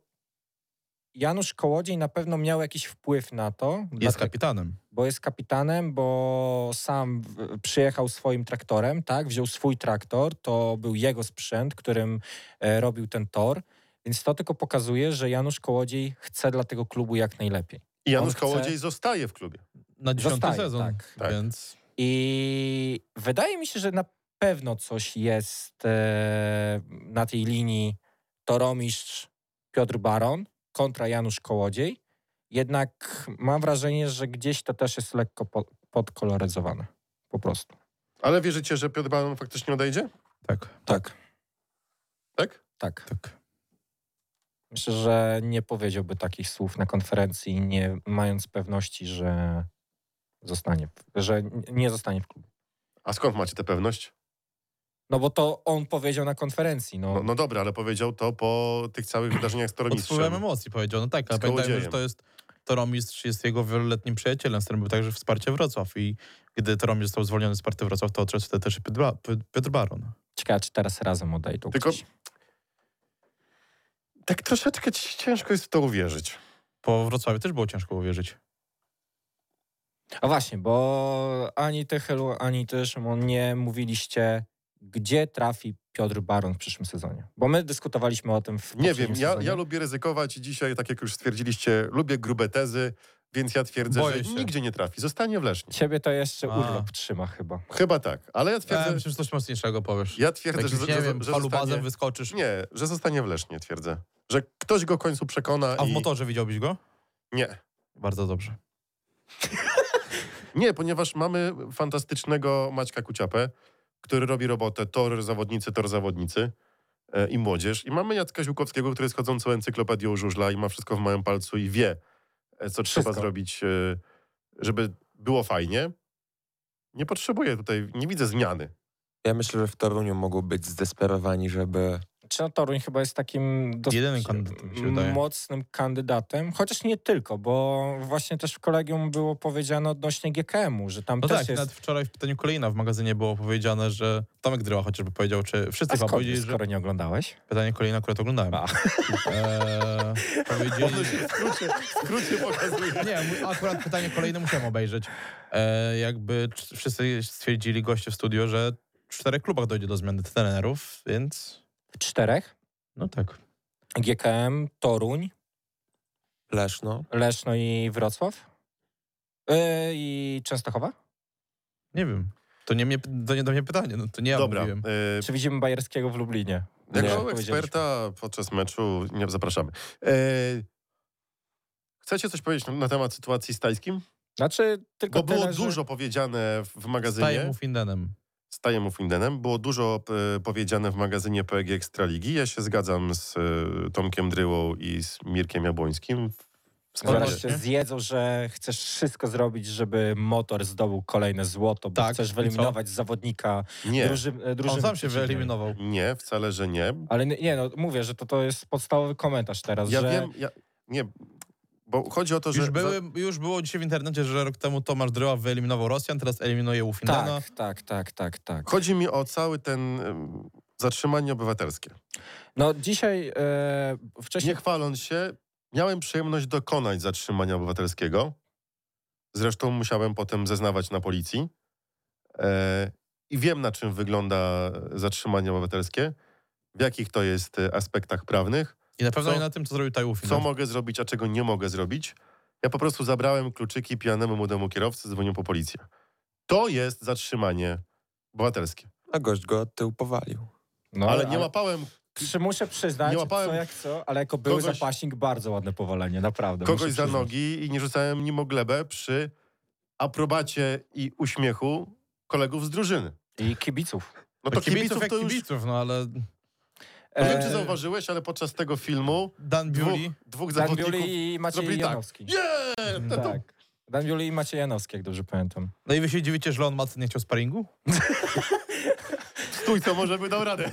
Janusz Kołodziej na pewno miał jakiś wpływ na to, Jest dlatego- kapitanem. bo jest kapitanem, bo sam w- przyjechał swoim traktorem, tak? Wziął swój traktor, to był jego sprzęt, którym e, robił ten tor. Więc to tylko pokazuje, że Janusz Kołodziej chce dla tego klubu jak najlepiej. I Janusz on chce- Kołodziej zostaje w klubie. Na dziesiąty Zostaje, sezon, tak. Tak. więc... I wydaje mi się, że na pewno coś jest e, na tej linii toromistrz Piotr Baron kontra Janusz Kołodziej. Jednak mam wrażenie, że gdzieś to też jest lekko po, podkoloryzowane. Po prostu. Ale wierzycie, że Piotr Baron faktycznie odejdzie? Tak, Tak. Tak? Tak. tak. Myślę, że nie powiedziałby takich słów na konferencji, nie mając pewności, że zostanie, w- że n- nie zostanie w klubie. A skąd macie tę pewność? No bo to on powiedział na konferencji. No, No, no dobra, ale powiedział to po tych całych wydarzeniach z Pod wpływem Tormistrzem. emocji powiedział, no tak, ale Z pamiętajmy, że Kołodziejem. to jest... Toromistrz jest jego wieloletnim przyjacielem, z którym był także wsparcie Wrocław i gdy Toromistrz został zwolniony z partii Wrocław, to odszedł wtedy też i Piotr Ba- Piotr Baron. ciekawe, czy teraz razem odejdą. Tylko- gdzieś. Tak troszeczkę ci ciężko jest w to uwierzyć. Po Wrocławiu też było ciężko uwierzyć. A właśnie, bo ani ty, Helu, ani ty, Szymon, nie mówiliście, gdzie trafi Piotr Baron w przyszłym sezonie. Bo my dyskutowaliśmy o tym w Nie wiem, poprzednim ja, sezonie. ja lubię ryzykować i dzisiaj, tak jak już stwierdziliście, lubię grube tezy, więc ja twierdzę, Boję że się. nigdzie nie trafi. Zostanie w Lesznie. Ciebie to jeszcze A. urlop trzyma chyba. Chyba tak, ale ja Ja twierdzę, myślę, że coś mocniejszego powiesz. ja twierdzę że, Jakimś, że, Tak nie że, wiem, że falubazem zostanie... wyskoczysz. Nie, że zostanie w Lesznie, twierdzę. Że ktoś go w końcu przekona A w i... motorze widziałbyś go? Nie. Bardzo dobrze. Mm, Nie, ponieważ mamy fantastycznego Maćka Kuciapę, który robi robotę tor zawodnicy, tor zawodnicy e, i młodzież. I mamy Jacka Ziłkowskiego, który jest chodzącą encyklopedią żużla i ma wszystko w małym palcu i wie, e, co Wszystko. trzeba zrobić, e, żeby było fajnie. Nie potrzebuję tutaj, nie widzę zmiany. Ja myślę, że w Toruniu mogą być zdesperowani, żeby... Czy no, Toruń chyba jest takim dosyć Jedynym kandydatem, mi się wydaje. mocnym kandydatem, chociaż nie tylko, bo właśnie też w kolegium było powiedziane odnośnie GKM-u, że tam No też tak, jest... nawet wczoraj w pytaniu kolejna w magazynie było powiedziane, że Tomek Dryła chociażby powiedział, czy wszyscy A chyba skąd, powiedzieli, że skoro nie oglądałeś? pytanie kolejne akurat oglądałem. A. Eee, powiedzieli, W skrócie, w skrócie pokazuję. Nie, mu- akurat pytanie kolejne musiałem obejrzeć. E, jakby c- wszyscy stwierdzili goście w studio, że w czterech klubach dojdzie do zmiany trenerów, więc Czterech? no tak. GKM, Toruń, Leszno. Leszno i Wrocław? Yy, I Częstochowa? Nie wiem. To nie, mnie, to nie do mnie pytanie, no, to nie ja Dobra, mówiłem. e, Czy widzimy Bajerskiego w Lublinie? Nie, Jako powiedzieliśmy. eksperta podczas meczu nie zapraszamy. E, chcecie coś powiedzieć na, na temat sytuacji z Tajskim? Znaczy, tylko Bo było tyle, że- dużo powiedziane w- w Staję mu magazynie Findenem. z Tajem Findenem. Było dużo e, powiedziane w magazynie PEG Ekstraligi. Ja się zgadzam z e, Tomkiem Dryłą i z Mirkiem Jabłońskim. W sprawie- Zaraz się zjedzą, że chcesz wszystko zrobić, żeby motor zdobył kolejne złoto, bo Tak, chcesz i wyeliminować zawodnika Nie, drużyn, e, drużyny. On sam się przeciwnej. wyeliminował. nie, wcale, że nie. Ale nie- nie, no mówię, że to, to jest podstawowy komentarz teraz, Ja że wiem, ja, nie, bo chodzi o to, że... Już, były, już było dzisiaj w internecie, że rok temu Tomasz Dryła wyeliminował Rosjan, teraz eliminuje Ufindena. tak, tak, tak, tak, tak. Chodzi mi o cały ten... em, Zatrzymanie obywatelskie. No dzisiaj e, wcześniej Nie chwaląc się, miałem przyjemność dokonać zatrzymania obywatelskiego. Zresztą musiałem potem zeznawać na policji. E, I wiem, na czym wygląda zatrzymanie obywatelskie, w jakich to jest e, aspektach prawnych, I na pewno Co- nie na tym, co zrobił Taj Ufinden. co mogę zrobić, a czego nie mogę zrobić. Ja po prostu zabrałem kluczyki pijanemu młodemu kierowcy, dzwonił po policję. To jest zatrzymanie obywatelskie. A gość go od tyłu powalił. no, Ale nie łapałem Czy muszę przyznać, Nie łapałem co jak co, ale jako były kogoś- zapaśnik bardzo ładne powalenie, naprawdę. kogoś muszę za przyznać. nogi i nie rzucałem nim o glebę przy aprobacie i uśmiechu kolegów z drużyny. I kibiców. No to kibiców, jak to już... kibiców, no ale Nie No wiem, czy E, zauważyłeś, ale podczas tego filmu Dan dwóch, Biuli, dwóch Dan zawodników... Biuli i Maciej zrobili tak. Janowski. Nie! To- to- Tak. Dan Biuli i Maciej Janowski, jak dobrze pamiętam. no i wy się dziwicie, że Leon Macen nie chciał sparingu? Stój, co może by dał radę.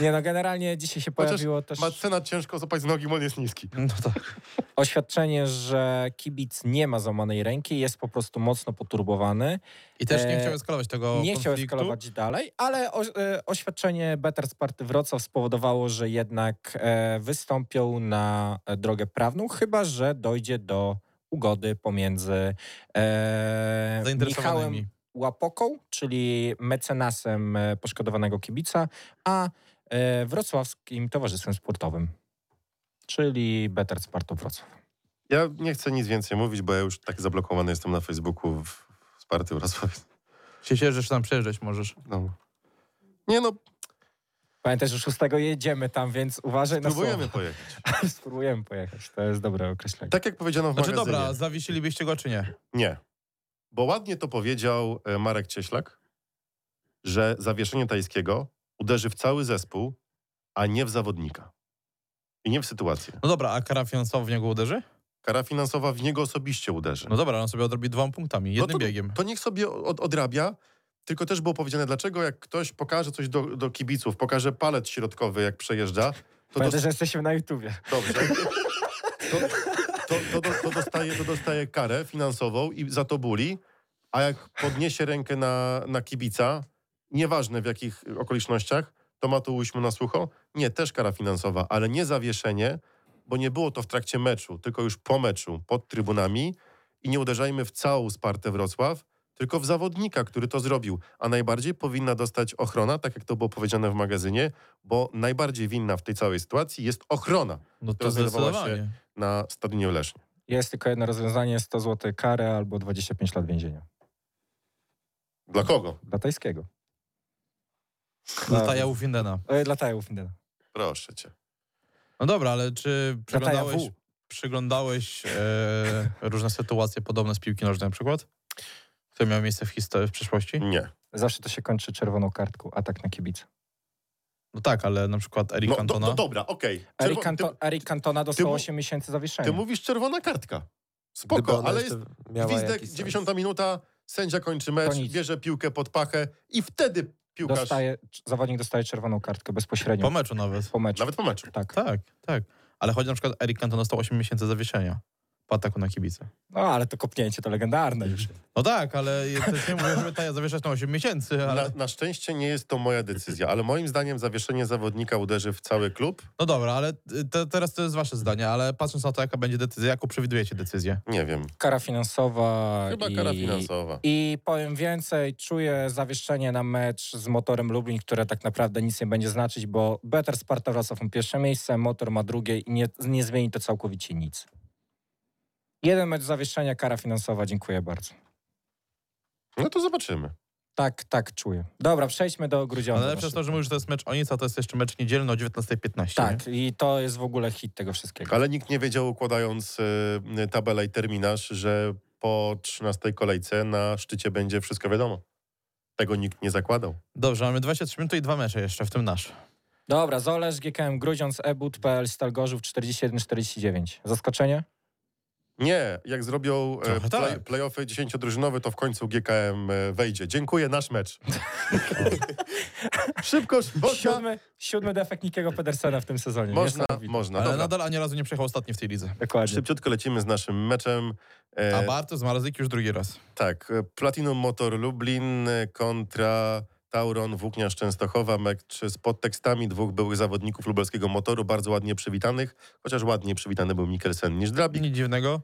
Nie no, generalnie dzisiaj się Chociaż pojawiło też Macena ciężko złapać z nogi, bo on jest niski. No tak. oświadczenie, że kibic nie ma złamanej ręki, jest po prostu mocno poturbowany. I też nie E, chciał eskalować tego nie chciał konfliktu. eskalować dalej, ale o, e, oświadczenie Better Sparty Wrocław spowodowało, że jednak e, wystąpią na e, drogę prawną, chyba że dojdzie do ugody pomiędzy e, Michałem zainteresowanymi. Łapoką, czyli mecenasem e, poszkodowanego kibica, a e, Wrocławskim Towarzystwem Sportowym, czyli Better Sparta Wrocław. Ja nie chcę nic więcej mówić, bo ja już tak zablokowany jestem na Facebooku w, w Sparty Wrocław. Się cieszę, że tam przejeżdżać możesz. No. Nie no, Pamiętaj, że 6 jedziemy tam, więc uważaj na próbujemy pojechać. słowa. Spróbujemy pojechać, to jest dobre określenie. Tak jak powiedziano w Znaczy magazynie. dobra, zawiesilibyście go czy nie? Nie. Bo ładnie to powiedział e, Marek Cieślak, że zawieszenie Tajskiego uderzy w cały zespół, a nie w zawodnika. I nie w sytuację. No dobra, a kara finansowa w niego uderzy? Kara finansowa w niego osobiście uderzy. No dobra, on sobie odrobi dwoma punktami, No jednym to, biegiem. To niech sobie od, odrabia. Tylko też było powiedziane, dlaczego jak ktoś pokaże coś do, do kibiców, pokaże palec środkowy, jak przejeżdża, to, Pamiętaj, dos- że jesteśmy na YouTubie. dobrze. To, to, to, do- to, dostaje, to dostaje karę finansową i za to buli, a jak podniesie rękę na, na kibica, nieważne w jakich okolicznościach, to ma to ujść mu na sucho. Nie, też kara finansowa, ale nie zawieszenie, bo nie było to w trakcie meczu, tylko już po meczu, pod trybunami i nie uderzajmy w całą Spartę Wrocław, tylko w zawodnika, który to zrobił. A najbardziej powinna dostać ochrona, tak jak to było powiedziane w magazynie, bo najbardziej winna w tej całej sytuacji jest ochrona No to to znajdowała zdecydowanie. na Stadionie w Lesznie. Jest tylko jedno rozwiązanie, 100 zł kary albo 25 lat więzienia. Dla kogo? Dla tajskiego. Dla Taja Ufindena. E, Dla tajów, nie. Proszę cię. No dobra, ale czy Dla Taja przeglądałeś, W. przyglądałeś e, różne sytuacje podobne z piłki nożnej na przykład? Które miały miejsce w historii, w przeszłości? Nie. Zawsze to się kończy czerwoną kartką, atak na kibica. No tak, ale na przykład Eric No, do, Cantona. no dobra, okej. Czerwo- Eric, Canto, ty, Eric Cantona ty dostał mu- 8 miesięcy zawieszenia. ty mówisz czerwona kartka. Gdyby Spoko, ona ale jest jeszcze miała gwizdek, jakiś sens. 90 minuta, sędzia kończy mecz, nic. bierze piłkę pod pachę i wtedy piłkarz, Dostaje, zawodnik dostaje czerwoną kartkę bezpośrednio Po po, meczu nawet. meczu. nawet po meczu. Tak. Tak, tak. Ale chodzi na przykład Eric Cantona dostał 8 miesięcy zawieszenia po ataku na kibice. No ale to kopnięcie to legendarne już. No tak, ale ja też nie mówię, żeby ta zawieszać na 8 miesięcy, ale... Na, na szczęście nie jest to moja decyzja, ale moim zdaniem zawieszenie zawodnika uderzy w cały klub. No dobra, ale y, te, teraz to jest wasze zdanie, ale patrząc na to, jaka będzie decyzja, jaką przewidujecie decyzję? Nie wiem, Kara finansowa. chyba Tak i, kara finansowa. I powiem więcej, czuję zawieszenie na mecz z Motorem Lublin, które tak naprawdę nic nie będzie znaczyć, bo Better Sparta Wrocław ma pierwsze miejsce, Motor ma drugie i nie, nie zmieni to całkowicie nic. Jeden mecz zawieszenia, kara finansowa, dziękuję bardzo. No to zobaczymy. Tak, tak czuję. Dobra, przejdźmy do Grudziądza. Ale przez to, że mówisz, że to jest mecz o nic, a to jest jeszcze mecz niedzielny o 19.15. nie? Tak, i to jest w ogóle hit tego wszystkiego. Ale nikt nie wiedział, układając y, tabelę i terminarz, że po 13 kolejce na szczycie będzie wszystko wiadomo. Tego nikt nie zakładał. Dobrze, mamy 23 minuty i dwa mecze jeszcze, w tym No nasz. Dobra, Zolesz, GKM, Grudziądz, Ebud, PL, Stal Gorzów, 41-49. Zaskoczenie? Nie, jak zrobią e, Trochę play, tak. playoffy dziesięciodrużynowe, to w końcu GKM e, wejdzie. Dziękuję, nasz mecz. Szybko, można, Siódmy, siódmy defekt Nikiego Pedersena w tym sezonie. można, Niesamowite. można. Ale Dobra. nadal ani razu nie przejechał ostatni w tej lidze. Dokładnie. Szybciutko lecimy z naszym meczem. A E, Bartosz Marazyk już drugi raz. tak, e, Platinum Motor Lublin e, kontra Tauron Włóknia Częstochowa. Mecz z podtekstami dwóch byłych zawodników lubelskiego motoru, bardzo ładnie przywitanych, chociaż ładniej przywitany był Mikkelsen niż Drabik. Nic dziwnego.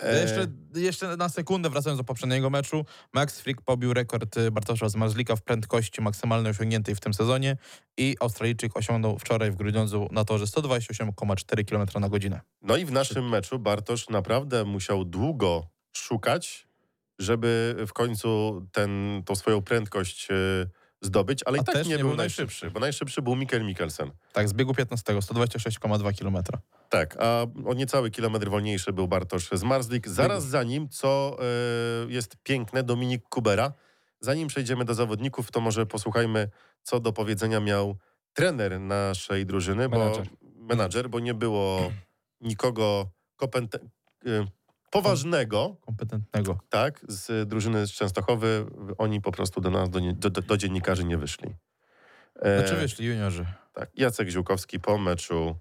E, No Jeszcze, jeszcze na sekundę wracając do poprzedniego meczu, Max Frick pobił rekord y, Bartosza Zmarzlika w prędkości maksymalnej osiągniętej w tym sezonie i Australijczyk osiągnął wczoraj w Grudziądzu na torze 128,4 km na godzinę. No i w naszym meczu Bartosz naprawdę musiał długo szukać, żeby w końcu ten, tą swoją prędkość e, zdobyć, ale i A tak też nie, był najszybszy, bo najszybszy był Mikkel Mikkelsen. Tak, z biegu 15, 126,2 km. Tak, a o niecały kilometr wolniejszy był Bartosz Zmarzlik. Zaraz za nim, co e, jest piękne, Dominik Kubera. Zanim przejdziemy do zawodników, to może posłuchajmy, co do powiedzenia miał trener naszej drużyny, Menadżer. bo menadżer, bo nie było nikogo kopente, e, poważnego, Kompetentnego. tak, z drużyny z Częstochowy. Oni po prostu do nas, do, nie- do, do dziennikarzy nie wyszli. E, Znaczy wyszli juniorzy. Tak, Jacek Ziółkowski po meczu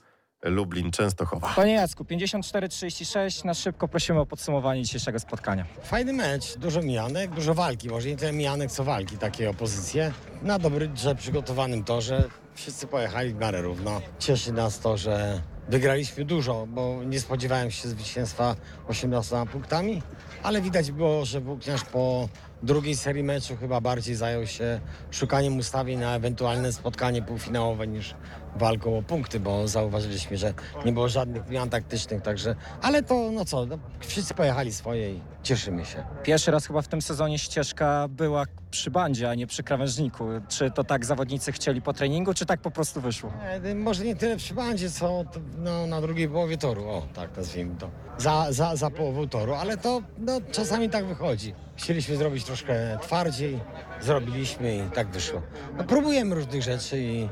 Lublin-Częstochowa. Panie Jacku, 54-36. Na szybko prosimy o podsumowanie dzisiejszego spotkania. Fajny mecz, dużo mijanek, dużo walki. Może nie tyle mijanek, co walki, takie opozycje. Na dobry drze przygotowanym torze wszyscy pojechali w miarę równo. Cieszy nas to, że wygraliśmy dużo, bo nie spodziewałem się zwycięstwa 18 punktami, ale widać było, że Włókniarz po drugiej serii meczu chyba bardziej zajął się szukaniem ustawień na ewentualne spotkanie półfinałowe niż walką o punkty, bo zauważyliśmy, że nie było żadnych zmian taktycznych, także, ale to no co, no, wszyscy pojechali swoje i cieszymy się. Pierwszy raz chyba w tym sezonie ścieżka była przy bandzie, a nie przy krawężniku. Czy to tak zawodnicy chcieli po treningu, czy tak po prostu wyszło? E, Może nie tyle przy bandzie, co t- no, na drugiej połowie toru, o tak nazwijmy to. Za, za, za połową toru, ale to no, czasami tak wychodzi. Chcieliśmy zrobić troszkę twardziej, zrobiliśmy i tak wyszło. No, próbujemy różnych rzeczy i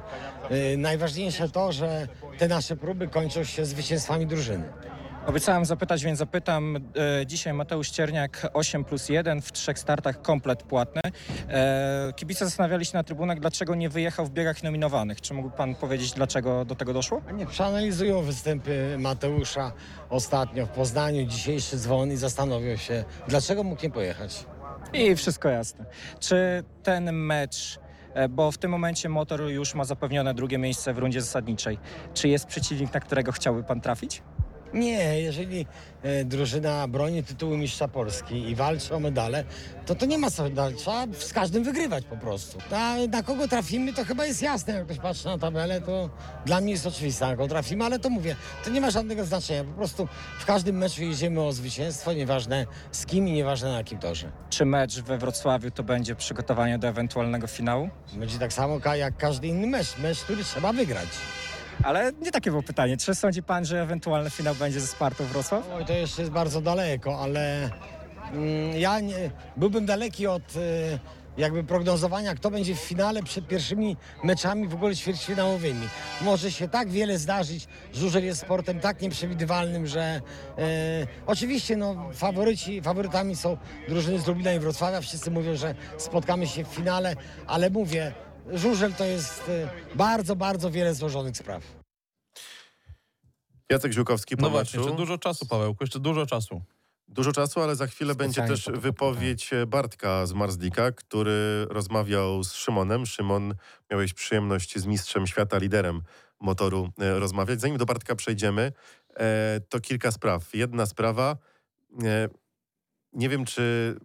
y, najważniejsze to, że te nasze próby kończą się zwycięstwami drużyny. Obiecałem zapytać, więc zapytam. E, Dzisiaj Mateusz Cierniak 8 plus 1 w trzech startach komplet płatny. E, Kibice zastanawiali się na trybunach, dlaczego nie wyjechał w biegach nominowanych. Czy mógłby pan powiedzieć, dlaczego do tego doszło? Nie, przeanalizują występy Mateusza ostatnio w Poznaniu, dzisiejszy dzwon i zastanowią się, dlaczego mógł nie pojechać. I wszystko jasne. Czy ten mecz, e, bo w tym momencie Motor już ma zapewnione drugie miejsce w rundzie zasadniczej, czy jest przeciwnik, na którego chciałby pan trafić? Nie, jeżeli e, drużyna broni tytułu mistrza Polski i walczy o medale, to to nie ma co, no, trzeba z każdym wygrywać po prostu. A na kogo trafimy, to chyba jest jasne, jak ktoś patrzy na tabelę, to dla mnie jest oczywiste, na kogo trafimy, ale to mówię, to nie ma żadnego znaczenia, po prostu w każdym meczu jedziemy o zwycięstwo, nieważne z kim i nieważne na jakim torze. Czy mecz we Wrocławiu to będzie przygotowanie do ewentualnego finału? Będzie tak samo ka- jak każdy inny mecz, mecz, który trzeba wygrać. Ale nie takie było pytanie. Czy sądzi pan, że ewentualny finał będzie ze Spartą Wrocław? Oj, to jeszcze jest bardzo daleko, ale mm, ja nie, byłbym daleki od y, jakby prognozowania, kto będzie w finale przed pierwszymi meczami w ogóle ćwierćfinałowymi. Może się tak wiele zdarzyć. Żużel jest sportem tak nieprzewidywalnym, że e, oczywiście no, faworyci, faworytami są drużyny z Lublina i Wrocławia. Wszyscy mówią, że spotkamy się w finale, ale mówię, żużel to jest e, bardzo, bardzo wiele złożonych spraw. Jacek Ziółkowski po No meczu. właśnie, jeszcze dużo czasu, Pawełku, jeszcze dużo czasu. Dużo czasu, ale za chwilę będzie Specjalnie też po to wypowiedź Bartka z Marzlika, który rozmawiał z Szymonem. Szymon, miałeś przyjemność z mistrzem świata, liderem motoru e, rozmawiać. Zanim do Bartka przejdziemy, e, to kilka spraw. Jedna sprawa, e, nie wiem czy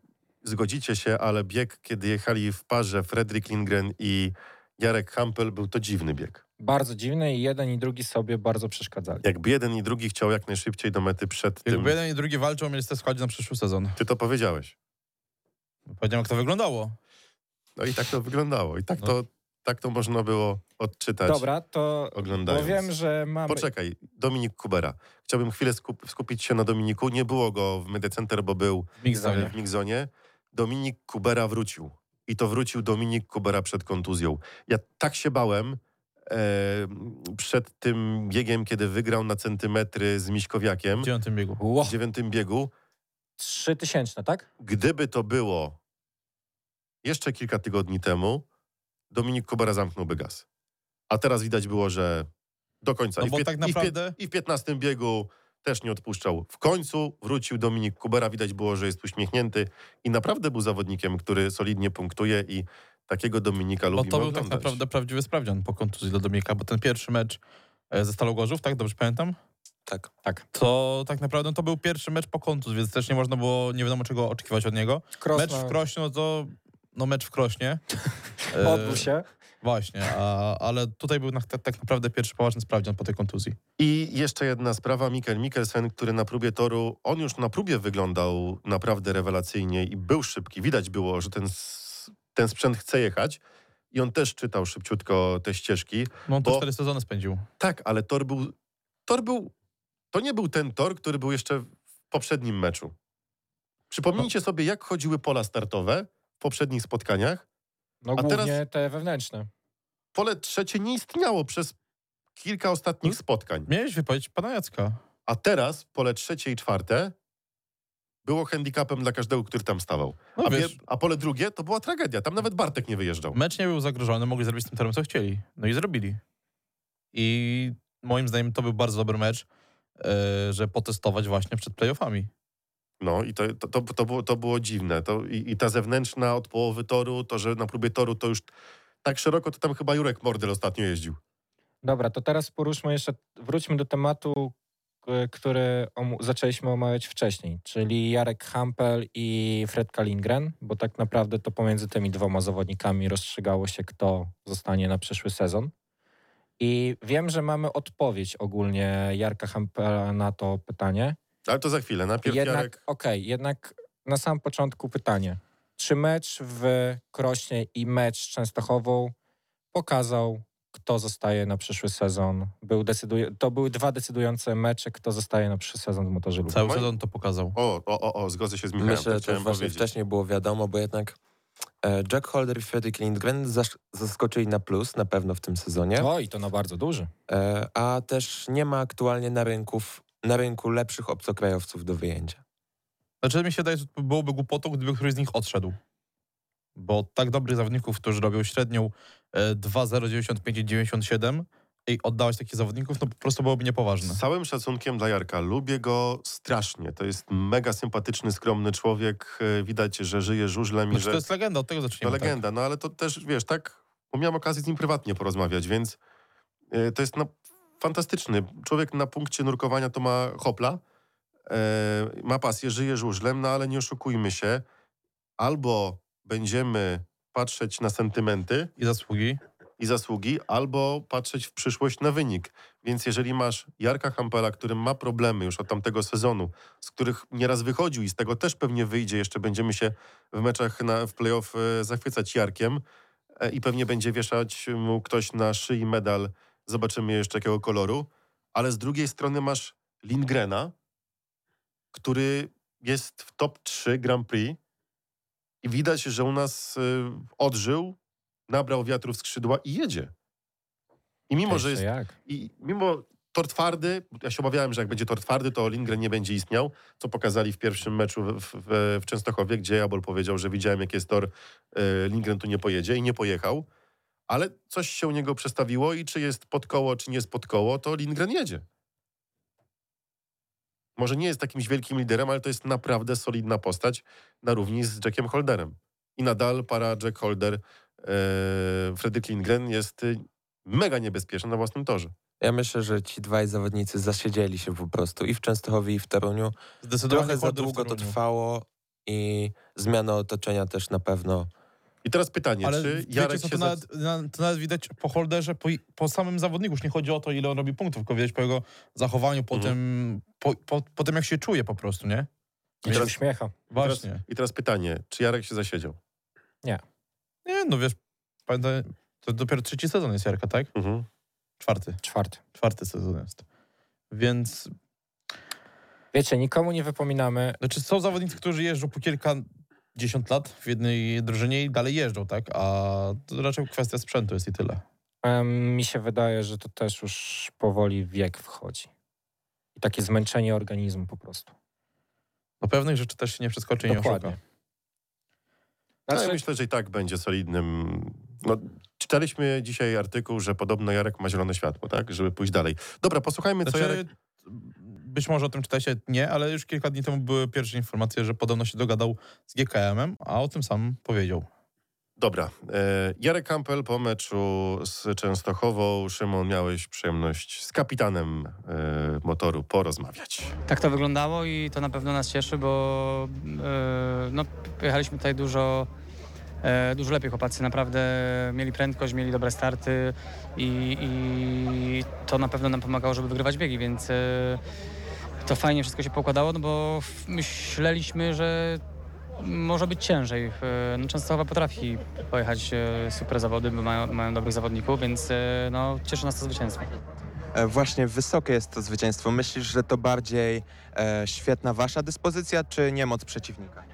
zgodzicie się, ale bieg, kiedy jechali w parze Fredrik Lindgren i Jarek Hampel, był to dziwny bieg. Bardzo dziwne i jeden i drugi sobie bardzo przeszkadzali. Jakby jeden i drugi chciał jak najszybciej do mety przed tym. Jakby jeden i drugi walczą o miejsce w składzie na przyszły sezon. Ty to powiedziałeś. Powiedziałem, jak to wyglądało. No i tak to wyglądało. I tak, No. to, tak to można było odczytać. Dobra, to Oglądając. powiem, że mamy... Poczekaj, Dominik Kubera. Chciałbym chwilę skup- skupić się na Dominiku. Nie było go w Media Center, bo był W Mixzonie. w Migzonie. Dominik Kubera wrócił. I to wrócił Dominik Kubera przed kontuzją. Ja tak się bałem e, przed tym biegiem, kiedy wygrał na centymetry z Miśkowiakiem W dziewiątym biegu. Ło, w dziewiątym biegu. trzy tysięczne, tak? Gdyby to było jeszcze kilka tygodni temu, Dominik Kubera zamknąłby gaz. A teraz widać było, że do końca. No I, w bo pię- tak i, naprawdę- w pie- I w 15 biegu też nie odpuszczał. W końcu wrócił Dominik Kubera, widać było, że jest uśmiechnięty i naprawdę był zawodnikiem, który solidnie punktuje i takiego Dominika Bo lubimy to był tak oglądać. naprawdę prawdziwy sprawdzian po kontuzji do Dominika, bo ten pierwszy mecz e, ze Stalą Gorzów, tak? Dobrze pamiętam? Tak. Tak. To tak naprawdę to był pierwszy mecz po kontuzji, więc też nie można było, nie wiadomo czego oczekiwać od niego. Krosno, Mecz w Krośnie, no to... No mecz w Krośnie. E, odbył się. Właśnie, a, ale tutaj był na, tak, tak naprawdę pierwszy poważny sprawdzian po tej kontuzji. I jeszcze jedna sprawa, Mikkel Mikkelsen, który na próbie toru, on już na próbie wyglądał naprawdę rewelacyjnie i był szybki. Widać było, że ten, s- ten sprzęt chce jechać i on też czytał szybciutko te ścieżki. No on to Bo- cztery sezony spędził. Tak, ale tor był, tor był, to nie był ten tor, który był jeszcze w poprzednim meczu. Przypomnijcie sobie, jak chodziły pola startowe w poprzednich spotkaniach. No A głównie teraz- te wewnętrzne. Pole trzecie nie istniało przez kilka ostatnich spotkań. Miałeś wypowiedź pana Jacka. A teraz pole trzecie i czwarte było handicapem dla każdego, który tam stawał. No a, wiesz, pie- a pole drugie to była tragedia. Tam nawet Bartek nie wyjeżdżał. mecz nie był zagrożony, mogli zrobić z tym torem co chcieli. No i zrobili. I moim zdaniem to był bardzo dobry mecz, e, że potestować właśnie przed playoffami. No i to, to, to, to, było, to było dziwne. To, i, I ta zewnętrzna od połowy toru, to że na próbie toru to już tak szeroko, to tam chyba Jurek Mordel ostatnio jeździł. Dobra, to teraz poruszmy jeszcze, wróćmy do tematu, k- który omu- zaczęliśmy omawiać wcześniej, czyli Jarek Hampel i Fredka Lindgren, bo tak naprawdę to pomiędzy tymi dwoma zawodnikami rozstrzygało się, kto zostanie na przyszły sezon. I wiem, że mamy odpowiedź ogólnie Jarka Hampela na to pytanie. Ale to za chwilę. Najpierw Jednak, Jarek. okej, jednak na sam początku pytanie. Czy mecz w Krośnie i mecz z Częstochową pokazał, kto zostaje na przyszły sezon? Był decyduj- to były dwa decydujące mecze, kto zostaje na przyszły sezon w Motorze Lublin. Cały Moim- sezon to pokazał. O, o, o, o, zgodzę się z Michałem. Myślę, to że to chciałem już właśnie powiedzieć. wcześniej było wiadomo, bo jednak e, Jack Holder i Fredrik Lindgren zasz- zaskoczyli na plus na pewno w tym sezonie. No. O, i to na bardzo duży. E, a też nie ma aktualnie na, rynków, na rynku lepszych obcokrajowców do wyjęcia. Znaczy mi się wydaje, że byłoby głupotą, gdyby któryś z nich odszedł. Bo tak dobrych zawodników, którzy robią średnią e, 2,0, 95 i 97 i oddawać takich zawodników, no po prostu byłoby niepoważne. Z całym szacunkiem dla Jarka. Lubię go strasznie. To jest mega sympatyczny, skromny człowiek. E, Widać, że żyje żużlem i Znaczy, że... to jest legenda, od tego To zaczniemy. tak. legenda, no ale to też, wiesz, tak, bo miałem okazję z nim prywatnie porozmawiać, więc e, to jest no, fantastyczny. Człowiek na punkcie nurkowania to ma hopla, e, ma pasję, żyje żużlem, no ale nie oszukujmy się, albo będziemy patrzeć na sentymenty I zasługi. i zasługi, albo patrzeć w przyszłość na wynik. Więc jeżeli masz Jarka Hampela, który ma problemy już od tamtego sezonu, z których nieraz wychodził i z tego też pewnie wyjdzie, jeszcze będziemy się w meczach na, w playoff e, zachwycać Jarkiem e, i pewnie będzie wieszać mu ktoś na szyi medal, zobaczymy jeszcze jakiego koloru, ale z drugiej strony masz Lindgrena, który jest w top 3 Grand Prix I widać, że u nas y, odżył, nabrał wiatru w skrzydła i jedzie. I mimo, że Jeszcze jest jak? i mimo tor twardy, ja się obawiałem, że jak będzie tor twardy, to Lindgren nie będzie istniał, co pokazali w pierwszym meczu w, w, w Częstochowie, gdzie Jabol powiedział, że widziałem, jak jest tor, e, Lindgren tu nie pojedzie i nie pojechał, ale coś się u niego przestawiło i czy jest pod koło, czy nie jest pod koło, to Lindgren jedzie. Może nie jest jakimś wielkim liderem, ale to jest naprawdę solidna postać na równi z Jackiem Holderem. I nadal para Jack Holder, e, Fredrik Lindgren jest e, mega niebezpieczna na własnym torze. Ja myślę, że ci dwaj zawodnicy zasiedzieli się po prostu i w Częstochowie, i w Toruniu. Zdecydowanie Trochę za Holder w długo to Toruniu. trwało i zmiana otoczenia też na pewno. I teraz pytanie, Ale czy wiecie Jarek co, się... to, Nad... nawet, na- to nawet widać po holderze, po, po samym zawodniku. Już nie chodzi o to, ile on robi punktów, tylko widać po jego zachowaniu, po, Mhm. tym, po, po, po tym, jak się czuje po prostu, nie? I się teraz- uśmiecha. Teraz, Właśnie. I teraz pytanie, czy Jarek się zasiedział? Nie, no wiesz, pamiętaj, to dopiero trzeci sezon jest Jarka, tak? Mhm. Czwarty. Czwarty. Czwarty sezon jest. Więc, Wiecie, nikomu nie wypominamy, znaczy są zawodnicy, którzy jeżdżą po kilkadziesiąt lat w jednej drużynie i dalej jeżdżą, tak? A to raczej kwestia sprzętu jest i tyle. Em, Mi się wydaje, że to też już powoli wiek wchodzi. I takie zmęczenie organizmu po prostu. No pewnych rzeczy też się nie przeskoczy i nie Dokładnie. oszuka. No, Znaczy- ja myślę, że i tak będzie solidnym... No, czytaliśmy dzisiaj artykuł, że podobno Jarek ma zielone światło, tak? Żeby pójść dalej. Dobra, posłuchajmy, co Jarek... Znaczy, być może o tym czytacie nie, ale już kilka dni temu były pierwsze informacje, że podobno się dogadał z GKM-em, a o tym sam powiedział. Dobra. E, Jarek Kampel po meczu z Częstochową. Szymon, miałeś przyjemność z kapitanem e, motoru porozmawiać. Tak to wyglądało i to na pewno nas cieszy, bo e, no, jechaliśmy tutaj dużo, e, dużo lepiej chłopacy. Naprawdę mieli prędkość, mieli dobre starty i, i to na pewno nam pomagało, żeby wygrywać biegi, więc e, to fajnie wszystko się pokładało, no bo w- myśleliśmy, że może być ciężej. E, No, Częstochowa potrafi pojechać e, super zawody, bo mają, mają dobrych zawodników, więc e, no, cieszy nas to zwycięstwo. E, Właśnie wysokie jest to zwycięstwo. Myślisz, że to bardziej e, świetna wasza dyspozycja, czy niemoc przeciwnika?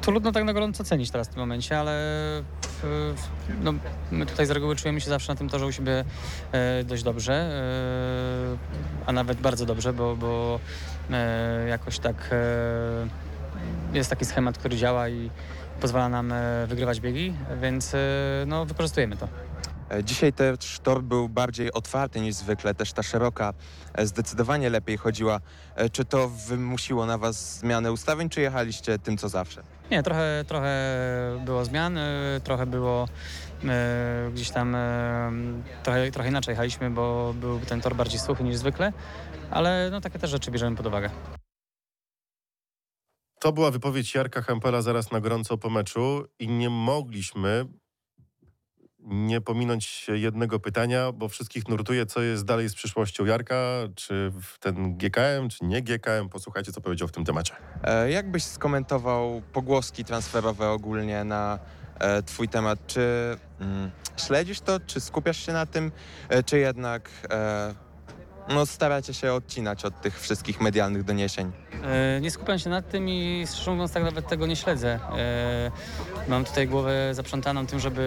Trudno tak na gorąco cenić teraz w tym momencie, ale w, w, no, my tutaj z reguły czujemy się zawsze na tym torze u siebie e, dość dobrze, e, a nawet bardzo dobrze, bo, bo e, jakoś tak e, jest taki schemat, który działa i pozwala nam e, wygrywać biegi, więc e, no, wykorzystujemy to. E, Dzisiaj też tor był bardziej otwarty niż zwykle, też ta szeroka e, zdecydowanie lepiej chodziła. E, Czy to wymusiło na was zmianę ustawień, czy jechaliście tym co zawsze? Nie, trochę, trochę było zmian, y, trochę było y, gdzieś tam y, trochę, trochę inaczej jechaliśmy, bo był ten tor bardziej suchy niż zwykle, ale no, takie też rzeczy bierzemy pod uwagę. To była wypowiedź Jarka Hempela zaraz na gorąco po meczu i nie mogliśmy nie pominąć jednego pytania, bo wszystkich nurtuje, co jest dalej z przyszłością Jarka, czy w ten GKM, czy nie GKM. Posłuchajcie, co powiedział w tym temacie. E, Jak byś skomentował pogłoski transferowe ogólnie na e, twój temat? Czy mm, śledzisz to, czy skupiasz się na tym, e, czy jednak e, no, staracie się odcinać od tych wszystkich medialnych doniesień? E, Nie skupiam się nad tym i szczerze mówiąc tak nawet tego nie śledzę. E, Mam tutaj głowę zaprzątaną tym, żeby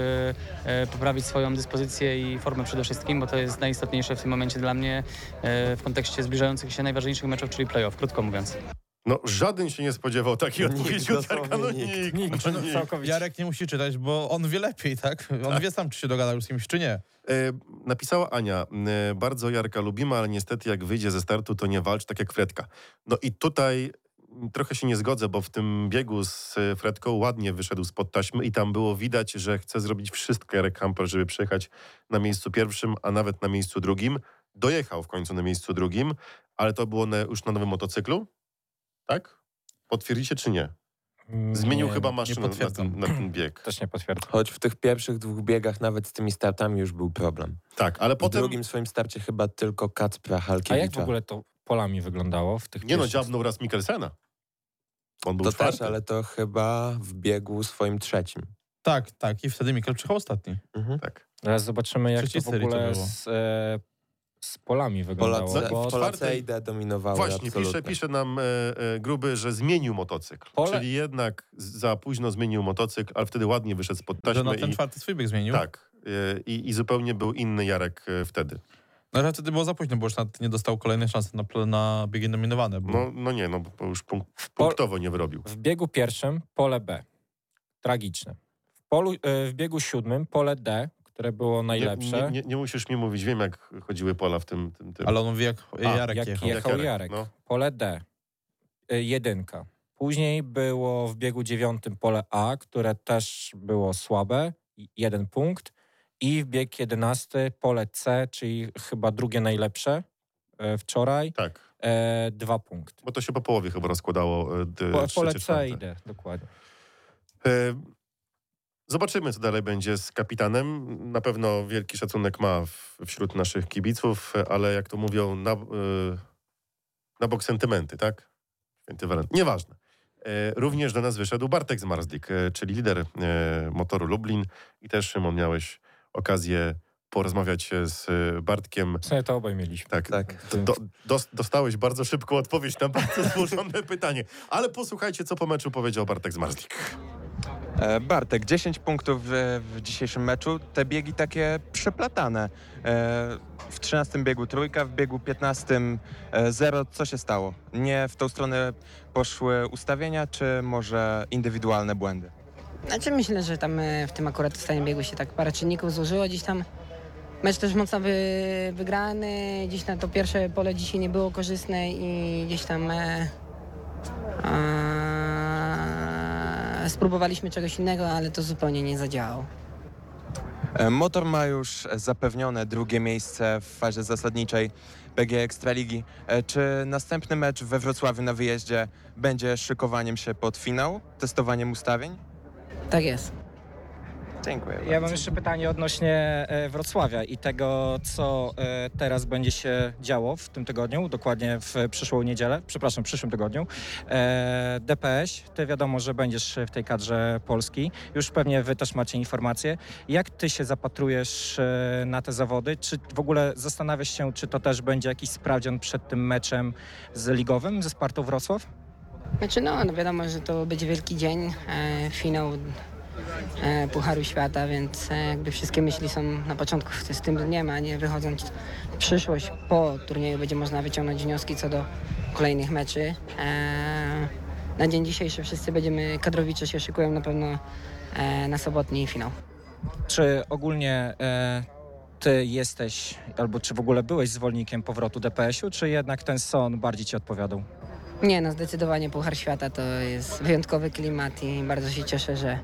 e, poprawić swoją dyspozycję i formę przede wszystkim, bo to jest najistotniejsze w tym momencie dla mnie e, w kontekście zbliżających się najważniejszych meczów, czyli playoff, krótko mówiąc. No, żaden się nie spodziewał takiej Nikt, odpowiedzi od Jarka. No, dosłownie nikt. nikt. nikt, no, nikt. Całkowicie. Jarek nie musi czytać, bo on wie lepiej, tak? On wie sam, czy się dogadał z kimś, czy nie. E, Napisała Ania, e, bardzo Jarka lubimy, ale niestety jak wyjdzie ze startu, to nie walcz tak jak Fredka. No i tutaj m, trochę się nie zgodzę, bo w tym biegu z e, Fredką ładnie wyszedł spod taśmy i tam było widać, że chce zrobić wszystko Jarek Hampel, żeby przyjechać na miejscu pierwszym, a nawet na miejscu drugim. Dojechał w końcu na miejscu drugim, ale to było na, już na nowym motocyklu, tak? Potwierdzicie czy nie? Zmienił Mm, Nie, chyba maszynę na potwierdzam. ten, na ten bieg. Też nie potwierdzam. Choć w tych pierwszych dwóch biegach nawet z tymi startami już był problem. Tak, ale Po potem... drugim swoim starcie chyba tylko Kacpra A jak w Halkiewicza. ogóle to polami wyglądało w tych Nie no, pierwszych- dziabnął raz Mikkelsena. On był To czwarty. też, ale to chyba w biegu swoim trzecim. Tak, tak. I wtedy Mikkel przyjechał ostatni. Mhm. Tak. Teraz zobaczymy, jak Trzeciej to w serii to ogóle było. z, e, z Polami wyglądało. Polacy, bo w Polacy czwartej- Ida dominowały tak. No, Właśnie, pisze, absolutnie. pisze nam e, e, Gruby, że zmienił motocykl. Pole- Czyli jednak z- za późno zmienił motocykl, ale wtedy ładnie wyszedł spod taśmy. Że na ten i, czwarty swój bieg zmienił. tak. e, I, I zupełnie był inny Jarek e, wtedy. No ale wtedy było za późno, bo już nawet nie dostał kolejnej szansy na, pl- na biegi nominowane. Bo... No, no nie, no bo już punk Pol- punktowo nie wyrobił. W biegu pierwszym pole B. Tragiczne. W, polu, e, w biegu siódmym pole D, które było Nie, nie, najlepsze. nie, nie musisz mi mówić, wiem jak chodziły pola w tym... tym, tym. Ale on mówi, jak A, Jarek jak jechał. jechał Jarek. No. Pole D. y, Jedynka. Później było w biegu dziewiątym pole A, które też było słabe. i- Jeden punkt. I w bieg jedenasty pole C, czyli chyba drugie najlepsze y, wczoraj. Tak, E, dwa punkty. bo to się po połowie chyba rozkładało. e, d- Po, trzecie, pole C czwarte. idę, dokładnie. E, Zobaczymy, co dalej będzie z kapitanem. Na pewno wielki szacunek ma w, wśród naszych kibiców, ale jak to mówią, na, e, na bok sentymenty, tak? Święty Walent. Nieważne. E, Również do nas wyszedł Bartek Zmarzlik, e, czyli lider e, motoru Lublin. I też, Szymon, miałeś okazję porozmawiać się z e, Bartkiem. W sumie to obaj mieliśmy. Tak, Tak. do, do, dos- dostałeś bardzo szybką odpowiedź na bardzo złożone pytanie. Ale posłuchajcie, co po meczu powiedział Bartek Zmarzlik. E, Bartek, 10 punktów w, w dzisiejszym meczu. Te biegi takie przeplatane. E, W 13 biegu trójka, w biegu 15 e, zero. Co się stało? Nie w tą stronę poszły ustawienia, czy może indywidualne błędy? Znaczy myślę, że tam e, w tym akurat w stanie biegu się tak parę czynników złożyło gdzieś tam. Mecz też mocno wy, wygrany, gdzieś na to pierwsze pole dzisiaj nie było korzystne i gdzieś tam e, a, spróbowaliśmy czegoś innego, ale to zupełnie nie zadziałało. E, Motor ma już zapewnione drugie miejsce w fazie zasadniczej PG Ekstraligi. E, Czy następny mecz we Wrocławiu na wyjeździe będzie szykowaniem się pod finał, testowaniem ustawień? Tak jest. Dziękuję. Ja mam jeszcze pytanie odnośnie e, Wrocławia i tego, co e, teraz będzie się działo w tym tygodniu, dokładnie w przyszłą niedzielę, przepraszam, w przyszłym tygodniu. E, DPŚ, ty wiadomo, że będziesz w tej kadrze Polski. Już pewnie wy też macie informacje. Jak ty się zapatrujesz e, na te zawody? Czy w ogóle zastanawiasz się, czy to też będzie jakiś sprawdzian przed tym meczem z ligowym, ze Spartą Wrocław? Znaczy no, no wiadomo, że to będzie wielki dzień, e, finał e, Pucharu Świata, więc e, jakby wszystkie myśli są na początku z- z tym dniem, a nie wychodząc w przyszłość po turnieju będzie można wyciągnąć wnioski co do kolejnych meczy. E, na dzień dzisiejszy wszyscy będziemy, kadrowicze się szykują na pewno e, na sobotni finał. Czy ogólnie e, ty jesteś, albo czy w ogóle byłeś zwolennikiem powrotu DPS-u, czy jednak ten son bardziej ci odpowiadał? Nie, no zdecydowanie Puchar Świata to jest wyjątkowy klimat i bardzo się cieszę, że,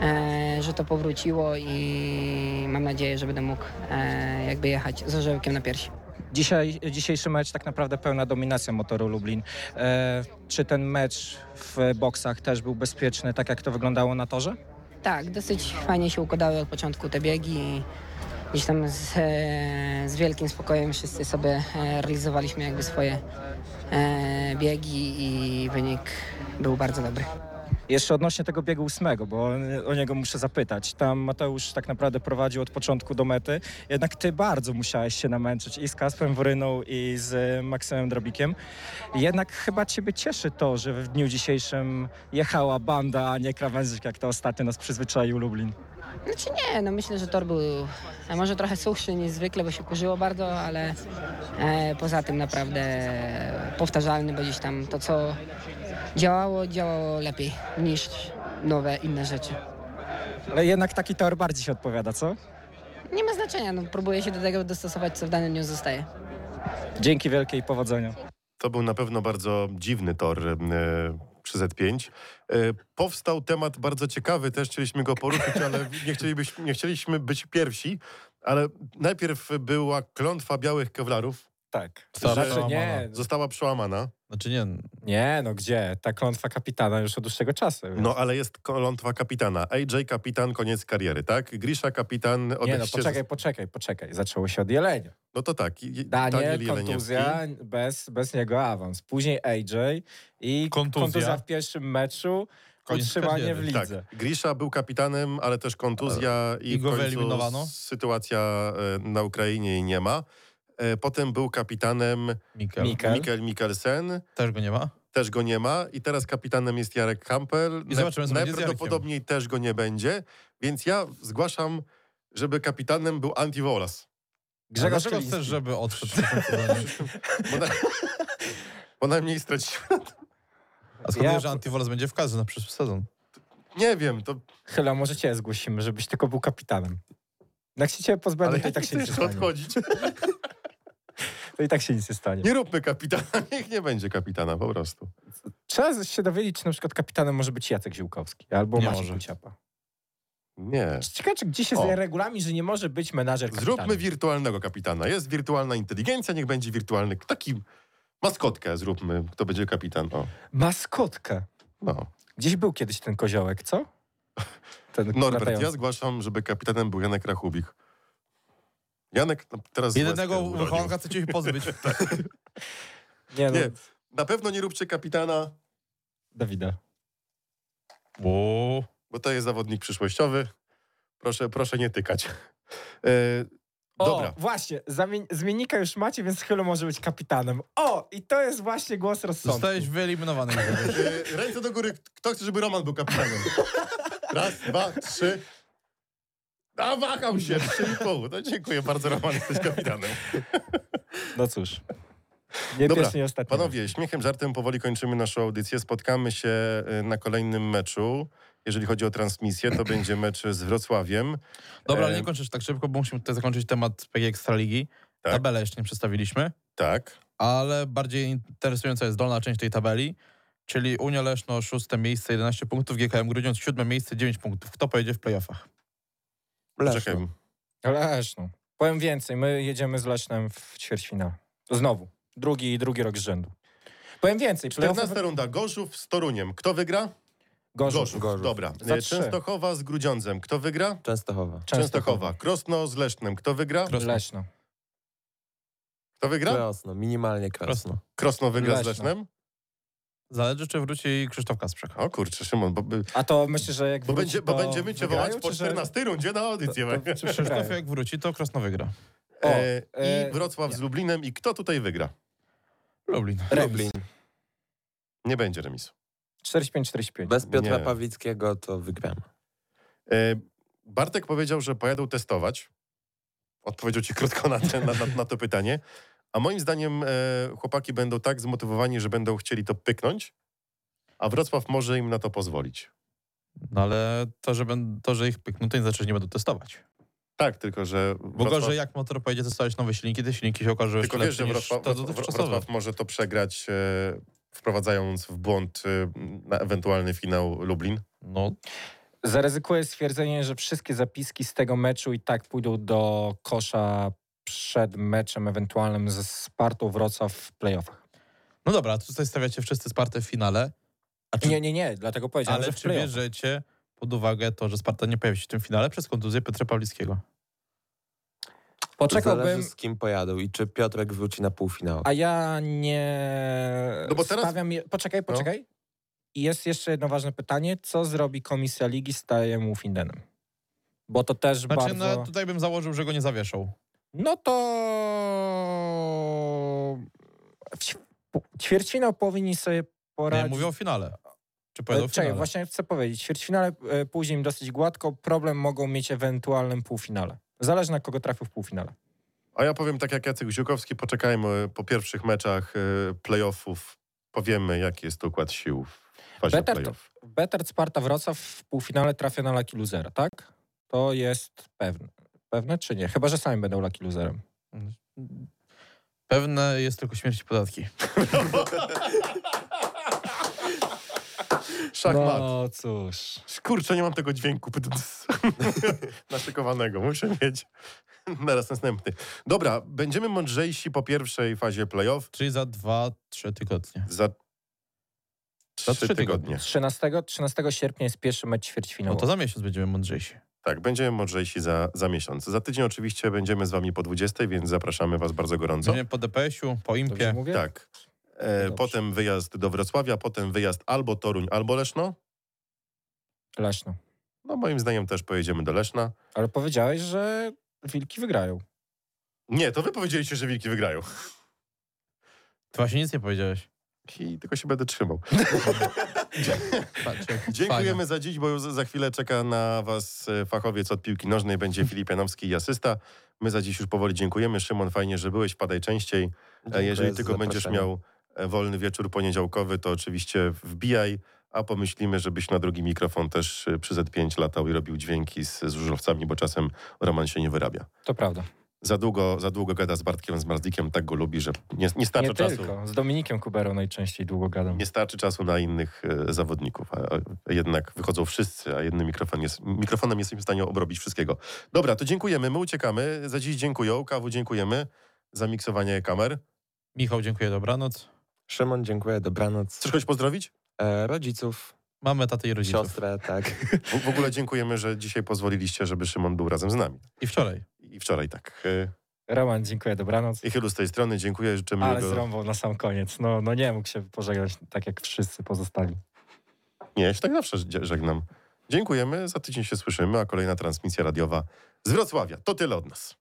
e, że to powróciło i mam nadzieję, że będę mógł e, jakby jechać z orzełkiem na piersi. Dzisiaj, dzisiejszy mecz tak naprawdę pełna dominacja motoru Lublin. E, czy ten mecz w boksach też był bezpieczny, tak jak to wyglądało na torze? Tak, dosyć fajnie się układały od początku te biegi i gdzieś tam z, e, z wielkim spokojem wszyscy sobie e, realizowaliśmy jakby swoje e, biegi i wynik był bardzo dobry. Jeszcze odnośnie tego biegu ósmego, bo o- o niego muszę zapytać. Tam Mateusz tak naprawdę prowadził od początku do mety, jednak ty bardzo musiałeś się namęczyć i z Kasprem Woryną i z e, Maksymem Drobikiem. Jednak chyba ciebie cieszy to, że w dniu dzisiejszym jechała banda, a nie krawędzik, jak to ostatnio nas przyzwyczaił Lublin. Znaczy nie, no myślę, że tor był e, może trochę suchszy niż zwykle, bo się kurzyło bardzo, ale e, poza tym naprawdę powtarzalny, bo gdzieś tam to, co działało, działało lepiej niż nowe, inne rzeczy. Ale No jednak taki tor bardziej się odpowiada, co? Nie ma znaczenia, no próbuję się do tego dostosować, co w danym dniu zostaje. Dzięki wielkie i powodzenia. To był na pewno bardzo dziwny tor e, przy Z5. E, powstał temat bardzo ciekawy, też chcieliśmy go poruszyć, ale nie, chcielibyśmy, nie chcieliśmy być pierwsi. Ale najpierw była klątwa białych kewlarów, Tak. Stop. Znaczy nie, została przełamana. Znaczy nie, nie, no gdzie? Ta klątwa kapitana już od dłuższego czasu. więc- No ale jest klątwa kapitana. AJ kapitan, koniec kariery, tak? Grisza kapitan, nie, no odejście... z- poczekaj, poczekaj, poczekaj. Zaczęło się od jelenia. no to tak. i- i- Daniel, Daniel kontuzja, Jeleniewski. bez, bez niego awans. Później AJ i Kontuzja. kontuzja, w pierwszym meczu, Koniec utrzymanie kariery. w lidze. Tak, Grisza był kapitanem, ale też kontuzja i, I go w końcu wyeliminowano? Sytuacja e, na Ukrainie i nie ma. E, E, Potem był kapitanem Mikael. Mik- Mikkel. Mikkel Mikkelsen, Też go nie ma. też go nie ma. I teraz kapitanem jest Jarek Kampel. I zobaczymy, co będzie z Jarkiem. Najprawdopodobniej też go nie będzie. Więc ja zgłaszam, żeby kapitanem był Anti Wolas. Grzegorz Dlaczego Kiliński. chcesz, żeby odszedł? przed tym sezonem? Bo, na... bo najmniej straciłem. A skąd Ja- wiesz, że Antywolas będzie w kadrze na przyszły sezon? Nie wiem, to Chyla, może cię zgłosimy, żebyś tylko był kapitanem. Jak się cię pozbędą, ale to i tak się nic nie stanie. odchodzić. To i tak się nic nie stanie. Nie róbmy kapitana, niech nie będzie kapitana po prostu. Trzeba się dowiedzieć, czy na przykład kapitanem może być Jacek Ziłkowski albo Nie Maciej może. Kuciapa. Nie. Ciekawe, czy gdzieś jest O. regulamin, że nie może być menadżer kapitanem. Zróbmy wirtualnego kapitana. Jest wirtualna inteligencja, niech będzie wirtualny. Taki maskotkę zróbmy, kto będzie kapitan. O, Maskotkę. no. Gdzieś był kiedyś ten koziołek, co? Ten Norbert, latający. ja zgłaszam, żeby kapitanem był Janek Rachubik. Janek no, teraz... Jedynego łezkę urodził. wychowanka chcecie ich pozbyć. Tak. Nie, no, Nie. Na pewno nie róbcie kapitana, Dawida. Wow. bo to jest zawodnik przyszłościowy. Proszę, proszę nie tykać. E, O, dobra. właśnie, zamień, zmiennika już macie, więc Chylu może być kapitanem. O, i to jest właśnie głos rozsądku. Zostałeś wyeliminowany. Grzegorz. E, ręce do góry. Kto chce, żeby Roman był kapitanem? Raz, dwa, trzy. A wahał się, trzy i pół. No dziękuję bardzo, Roman, jesteś kapitanem. No cóż. Nie Dobra, pierwszy, nie ostatni. Panowie, śmiechem, żartem powoli kończymy naszą audycję. Spotkamy się e, na kolejnym meczu. Jeżeli chodzi o transmisję, to będzie mecz z Wrocławiem. Dobra, ale E, nie kończysz tak szybko, bo musimy tutaj zakończyć temat PG Ekstraligi. Tak. Tabelę jeszcze nie przedstawiliśmy, Tak. ale bardziej interesująca jest dolna część tej tabeli, czyli Unia Leszno, szóste miejsce, 11 punktów, GKM Grudziądz, siódme miejsce, 9 punktów. Kto pojedzie w playoffach? Leszno. Czekaj. Leszno. Powiem więcej, my jedziemy z Lesznem w ćwierćfinał. Znowu. Drugi drugi rok z rzędu. Powiem więcej. playoffy- 14 runda. Gorzów z Toruniem. Kto wygra? Gorzów. Gorzów. Dobra. Za E, trzy. Częstochowa z Grudziądzem. Kto wygra? Częstochowa. Częstochowa. Krosno z Lesznem. Kto wygra? Krosno. Leszno. Kto wygra? Krosno, minimalnie krosno. Krosno. Krosno wygra z Leszno. Lesznem? Zależy, czy wróci Krzysztof Kasprzak. O kurczę, Szymon, bo, by- A to myślę, że jak bo, wróci, będzie, bo to będziemy cię wygrają, wołać po czy że- 14 rundzie na audycję. To- to- Magda. czy Krzysztof przegrają? jak wróci, to Krosno wygra. E, e, I Wrocław z Lublinem. I kto tutaj wygra? Lublin. Lublin. Nie będzie remisu. 45, 45. Bez Piotra Nie. Pawlickiego to wygramy. E, Bartek powiedział, że pojadą testować. Odpowiedział ci krótko na, te, na, na, na to pytanie. A moim zdaniem e, chłopaki będą tak zmotywowani, że będą chcieli to pyknąć, a Wrocław może im na to pozwolić. No ale to, że, będą, to, że ich pykną, to nie znaczy, że nie będą testować. Tak, tylko że. Bo gorzej jak motor pojedzie testować nowe silniki, te silniki się okażą Tylko jeszcze wiesz, że lepsze niż Wrocław, te Wrocław, dotychczasowe. Wrocław może to przegrać, e, wprowadzając w błąd e, na ewentualny finał Lublin. No, Zaryzykuję stwierdzenie, że wszystkie zapiski z tego meczu i tak pójdą do kosza przed meczem ewentualnym ze Spartą Wrocław w playoffach. no dobra, tutaj stawiacie wszyscy Spartę w finale, a czy, Nie, nie, nie, dlatego powiedziałem, ale że w czy playoffach. bierzecie pod uwagę to, że Sparta nie pojawi się w tym finale przez kontuzję Piotra Pawlickiego? Poczekałbym, Zależy z kim pojadą i czy Piotrek wróci na półfinał. a ja nie No bo teraz- stawiam... Je... Poczekaj, poczekaj. I jest jeszcze jedno ważne pytanie. Co zrobi komisja ligi z Tajem Findenem? Bo to też Znaczy, bardzo... no, tutaj bym założył, że go nie zawieszą. No to... W ć- ćwierćfinał powinni sobie Nie, poradzić. mówię o finale. Czy E, pojadą w Czekaj, finale? właśnie chcę powiedzieć. Ćwierćfinale e, później im dosyć gładko. Problem mogą mieć w ewentualnym półfinale. Zależy na kogo trafił w półfinale. A ja powiem tak jak Jacek Ziókowski, poczekajmy po pierwszych meczach e, playoffów, powiemy jaki jest układ sił w fazie Better to- playoff. Better Sparta Wrocław w półfinale trafia na Lucky Losera, tak? To jest pewne. Pewne czy nie? Chyba, że sami będą Lucky Loserem. Pewne jest tylko śmierć i podatki. Szachmat. No. cóż. Kurczę, nie mam tego dźwięku naszykowanego. Muszę mieć naraz następny. Dobra, będziemy mądrzejsi po pierwszej fazie playoff Czyli za dwa, trzy tygodnie. za trzy, Za trzy tygodnie. tygodnie. 13, 13 sierpnia jest pierwszy mecz ćwierćfinału. No to za miesiąc będziemy mądrzejsi. Tak, będziemy mądrzejsi za, za miesiąc. Za tydzień oczywiście będziemy z wami po 20, więc zapraszamy was bardzo gorąco. Będziemy po DPS-u, po Dobrze impie. mówię? Tak. E, Dobrze. potem wyjazd do Wrocławia, potem wyjazd albo Toruń, albo Leszno. Leszno. No moim zdaniem też pojedziemy do Leszna. Ale powiedziałeś, że wilki wygrają. Nie, to wy powiedzieliście, że wilki wygrają. Ty właśnie nic nie powiedziałeś. I tylko się będę trzymał. Patrz, jak Dziękujemy fajnie. za dziś, bo już za chwilę czeka na was e, fachowiec od piłki nożnej, będzie Filip Janowski i asysta. My za dziś już powoli dziękujemy. Szymon, fajnie, że byłeś, padaj częściej. E, Dziękuję Jeżeli za tylko będziesz zaproszenie. miał e, wolny wieczór poniedziałkowy, to oczywiście wbijaj, a pomyślimy, żebyś na drugi mikrofon też e, przy Z5 latał i robił dźwięki z, z żużlowcami, bo czasem Roman się nie wyrabia. To prawda. Za długo, za długo gada z Bartkiem, z Marzlikiem, tak go lubi, że nie, nie starcza Nie czasu. tylko. Z Dominikiem Kuberą najczęściej długo gadam. Nie starczy czasu na innych e, zawodników, a, a jednak wychodzą wszyscy, a jednym mikrofon jest, mikrofonem jesteśmy w stanie obrobić wszystkiego. Dobra, to dziękujemy, my uciekamy. Za dziś dziękuję, kawu dziękujemy za miksowanie kamer. Michał, dziękuję, dobranoc. Szymon, dziękuję, dobranoc. Chcesz kogoś pozdrowić? E, rodziców, Mamy tatę i rodziców. siostrę, tak. W, w ogóle dziękujemy, że dzisiaj pozwoliliście, żeby Szymon był razem z nami. I wczoraj. I wczoraj tak. E, Roman, dziękuję, dobranoc. I chylu z tej strony, dziękuję, życzę Ale miłego... zrąbał na sam koniec. No, no nie mógł się pożegnać tak jak wszyscy pozostali. Nie, ja się tak zawsze dzie- żegnam. Dziękujemy, za tydzień się słyszymy, a kolejna transmisja radiowa z Wrocławia. To tyle od nas.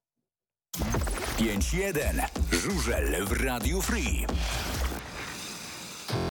5-1. Żużel w Radiu Free.